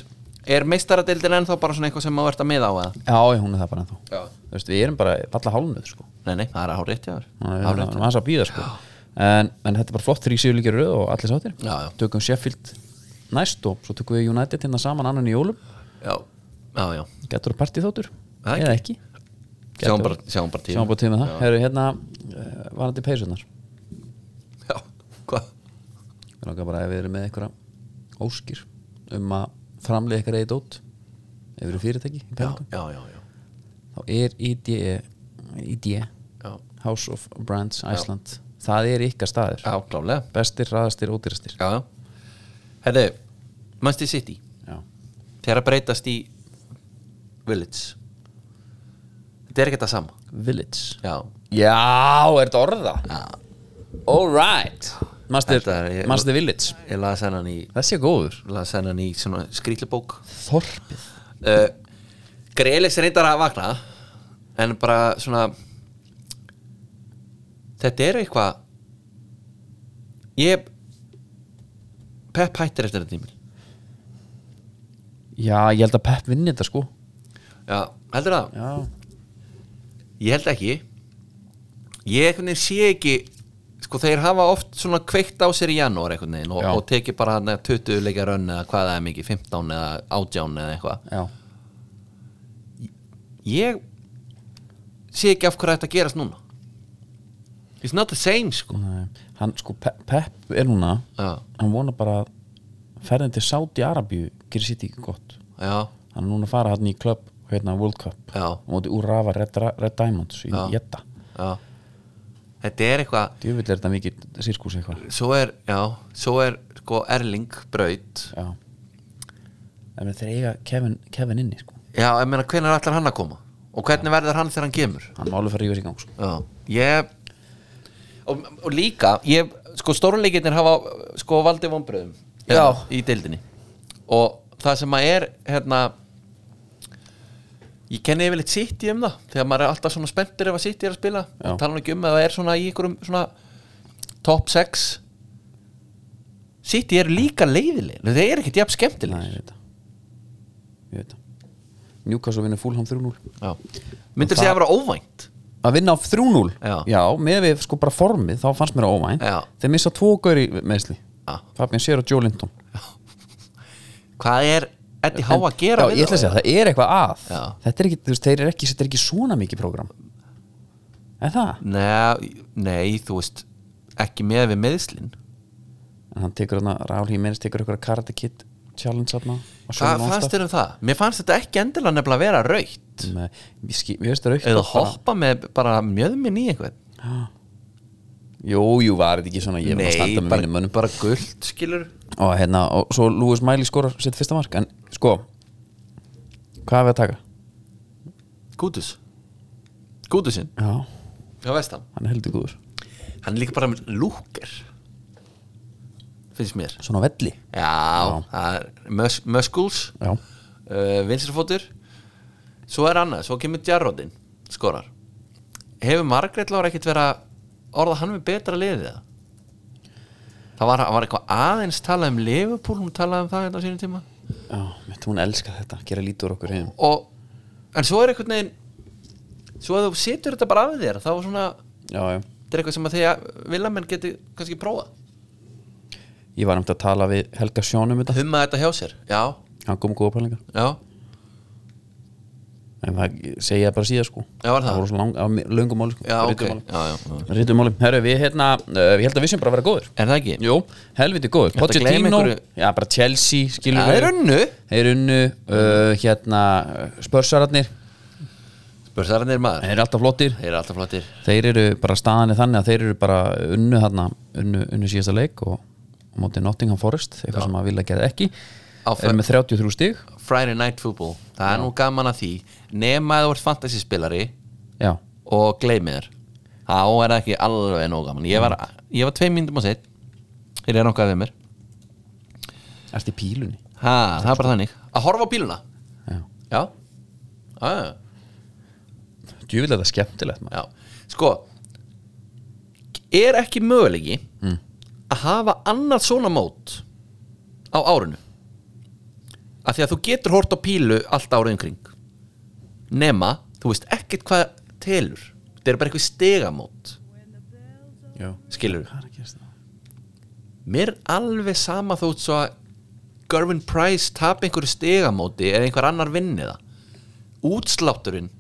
er meistaradeildin ennþá bara svona eitthvað sem maður ert að miða á eða? já, já, hún er það bara ennþá Já. Þú veist, við erum bara valla hálnuð sko. Nei, nei, það er að hár rétt hjá þér Þannig að við Hár erum rétt. við erum aðeins að býða sko. en, en þetta er bara flott þrý síður líka röð og allir sáttir, Já, já. tökum Sheffield næst og svo tökum við United hérna saman annan í jólum, Já, já, já getur að partí þáttur Það eða ekki, Sjáum bara, sjáum bara tíma sjáum bara tíma það Herru, hérna, uh, varandi peysunar Já, *laughs* hvað? Mér langar bara að við erum með einhverja óskir um að framlega eitthvað reyði dót ef við erum fyrirtæki í Já, peningum, já, já, já, þá er E, IDE, IDE já. E, House of Brands Iceland það er ykkar staður, já klálega bestir, raðastir, ódýrastir Já, já Herðu, Manchester City Já. Þegar að breytast í Village Þetta er ekki þetta sama Village Já, Já, er þetta orða? Já. Alright Master, Þetta er- ég- Master Village ég laði sennan í Þessi er góður laði sennan í svona skrýtlubók Þorpið uh, Grelis reyndar að vakna en bara svona þetta er eitthvað ég Pep hættir eftir þetta tímil Já, ég held að Pep vinni þetta sko já, heldur það? Já, ég held ekki ég einhvern veginn sé ekki sko þeir hafa oft svona kveikt á sér í janúar einhvern veginn og, Já. og teki bara þarna 20 leikja rönn eða hvað það er mikið 15 eða 18 eða eitthvað já ég sé ekki af hverju þetta gerast núna it's not the same sko Nei. Hann sko, Pe- Pep er núna já, hann vonar bara að ferðin til Saudi Arabíu gerir sitt ekki gott já, hann er núna að fara hann í klubb hérna World Cup Já. og móti úr rafa Red, Ra- Red Diamonds í Jetta já þetta er eitthvað djöfull er þetta mikið sirkus eitthvað svo er, já, svo er sko Erling braut já en þeir eiga Kevin, Kevin inni sko. já, ég meina hvernig er allar hann að koma og hvernig verður hann þegar hann kemur hann málu fara að rífa sig í gang sko. Já, ég og, og líka, ég, sko stórleikinir hafa sko valdið vonbröðum Já. í deildinni og það sem maður er hérna ég kenni yfirleitt sitt í um það þegar maður er alltaf svona spenntur ef að sitt er að spila Já. og tala nú ekki um að það er svona í einhverjum svona top 6 sitt eru líka leiðileg þeir eru ekkert jafn Nei, skemmtileg ég veit það. ég veit það Newcastle vinnur Fulham 3-0 myndir Og segja það- að vera óvænt að vinna á 3-0 Já. með við sko bara formið þá fannst mér það óvænt Já. þeir missa tvo gaur í meðsli Já. Fabian Sér og Joe Linton hvað er Eddie Há að gera já, við ég ætla að segja, það er eitthvað að Já. þetta er ekki, þú veist, þeir eru ekki, þetta er ekki svona mikið prógram en það Nei, nei, þú veist ekki með við meðslin en hann tekur þarna, Raúl Hímenis tekur eitthvað Karate Kid Challenge þarna og svo Hvað nonstop. fannst þér um það? Mér fannst þetta ekki endilega nefnilega að vera raukt Nei, ég skil- mér finnst það raukt eða bara- hoppa með bara mjöðminn í einhvern *gasps* jú, jú, var þetta ekki svona, ég var að standa með mínum bara, mönnum bara gult skilur og hérna, og svo Lewis Miley skorar sitt fyrsta mark, en sko hvað er við að taka? Gútus Gútusinn, já, já veist það hann er heldur góður Hann er líka bara með lúker finnst mér svona á velli, Já, það er mus muscles já, uh, vinstrifótur svo er annað, svo kemur Jarrodin skorar hefur Margrét Lára ekkert verið að orða hann við betra liðið það það var, var eitthvað aðeins talað um Liverpool, hún talaði um það hérna á sínum tíma já, mitt, hún elskar þetta gera lítur okkur heim og, en svo er eitthvað neginn svo að þú setur þetta bara af þér þá er svona, já, já þetta er eitthvað sem að þegar villamenn geti kannski prófa Ég var nefndi að tala við Helga Sjón um þetta humma þetta hjá sér, já, Hann kom með góða pælingar já en það segja bara síðan sko Já, var það? voru svo lang, á löngum máli sko Já, ok Rittu máli. já, já, já. Rítum málum, herru, við hérna uh, Ég held að við sem bara að vera góður Er það ekki? Jú, helviti góður, Ég ætla að gleyma Pochettino einhverju. Já, bara Chelsea, skilur Það er unnu Þeir unnu, uh, hérna Spörsararnir, Börsararnir maður þeir eru alltaf flottir Þeir eru alltaf flottir Þeir eru bara staðanir þannig að þeir eru bara unnu hérna, unnu, unnu síðasta leik og á móti Nottingham Forest, eitthvað sem að vilja gera ekki Á Þeir eru með 33 stig Friday Night Football Það er nú gaman að því Nema að þú ert fantasyspilari Já, Og gleymið þér Þá er það ekki alveg nóg gaman Ég var, ég var tveim myndum á sitt Þeir eru nokkað við mér ertu í pílunni ha, Það er bara þannig Að horfa á bíluna Já, Já Já, já, djúvilega þetta er skemmtilegt maður já Sko Er ekki mögulegi Að hafa annað svona mót Á árinu Af því að þú getur hort á pílu Allt árið um kring Nema, þú veist ekkert hvað telur Þetta er bara eitthvað stegamót Já, Skilur hvað er að gerast það? Mér er alveg sama þótt svo að Gervin Price tap einhverju stegamóti eða einhver annar vinni það Útslátturinn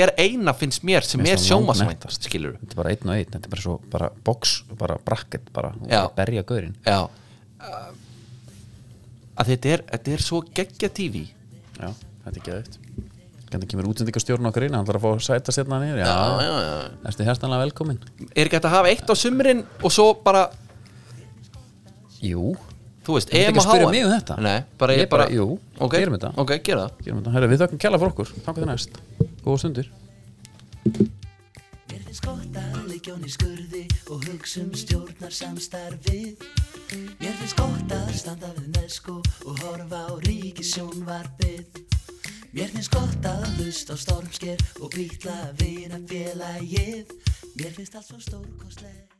er eina finnst mér sem Mér er finnst það sjómasvænt langmettast. skilur Þetta er bara einn og einn, þetta er bara svo, bara box, bara bracket, bara, þú Já. bara berja gaurinn já að þetta er, þetta er svo geggja TV Já, þetta er geðvægt Hvernig kemur útsendingastjórn okkar inn, hann þarf að fá sæta sérna nýr Já, já, já. Ertu hérstanlega velkomin? er ekki hægt að hafa eitt á sumrin og svo bara, Jú, þú veist, Þú ert EM ekki og að spyrja HM. mig um þetta. Nei, bara ég, Ég bara, jú, ok, gerum þetta. ok, gera það gerum þetta Herra, við þökkum kjalla fyrir okkur, þangar til næst Góða stundir Mér finnst gott að leikjón í skurði og hugsa um stjórnar samstarfið. Mér finnst gott að standa við neðsku og horfa á ríkisjónvarpið. Mér finnst gott að hlusta á stormsker og býtla að vina félagið. Mér finnst allt svo stórkostlegt.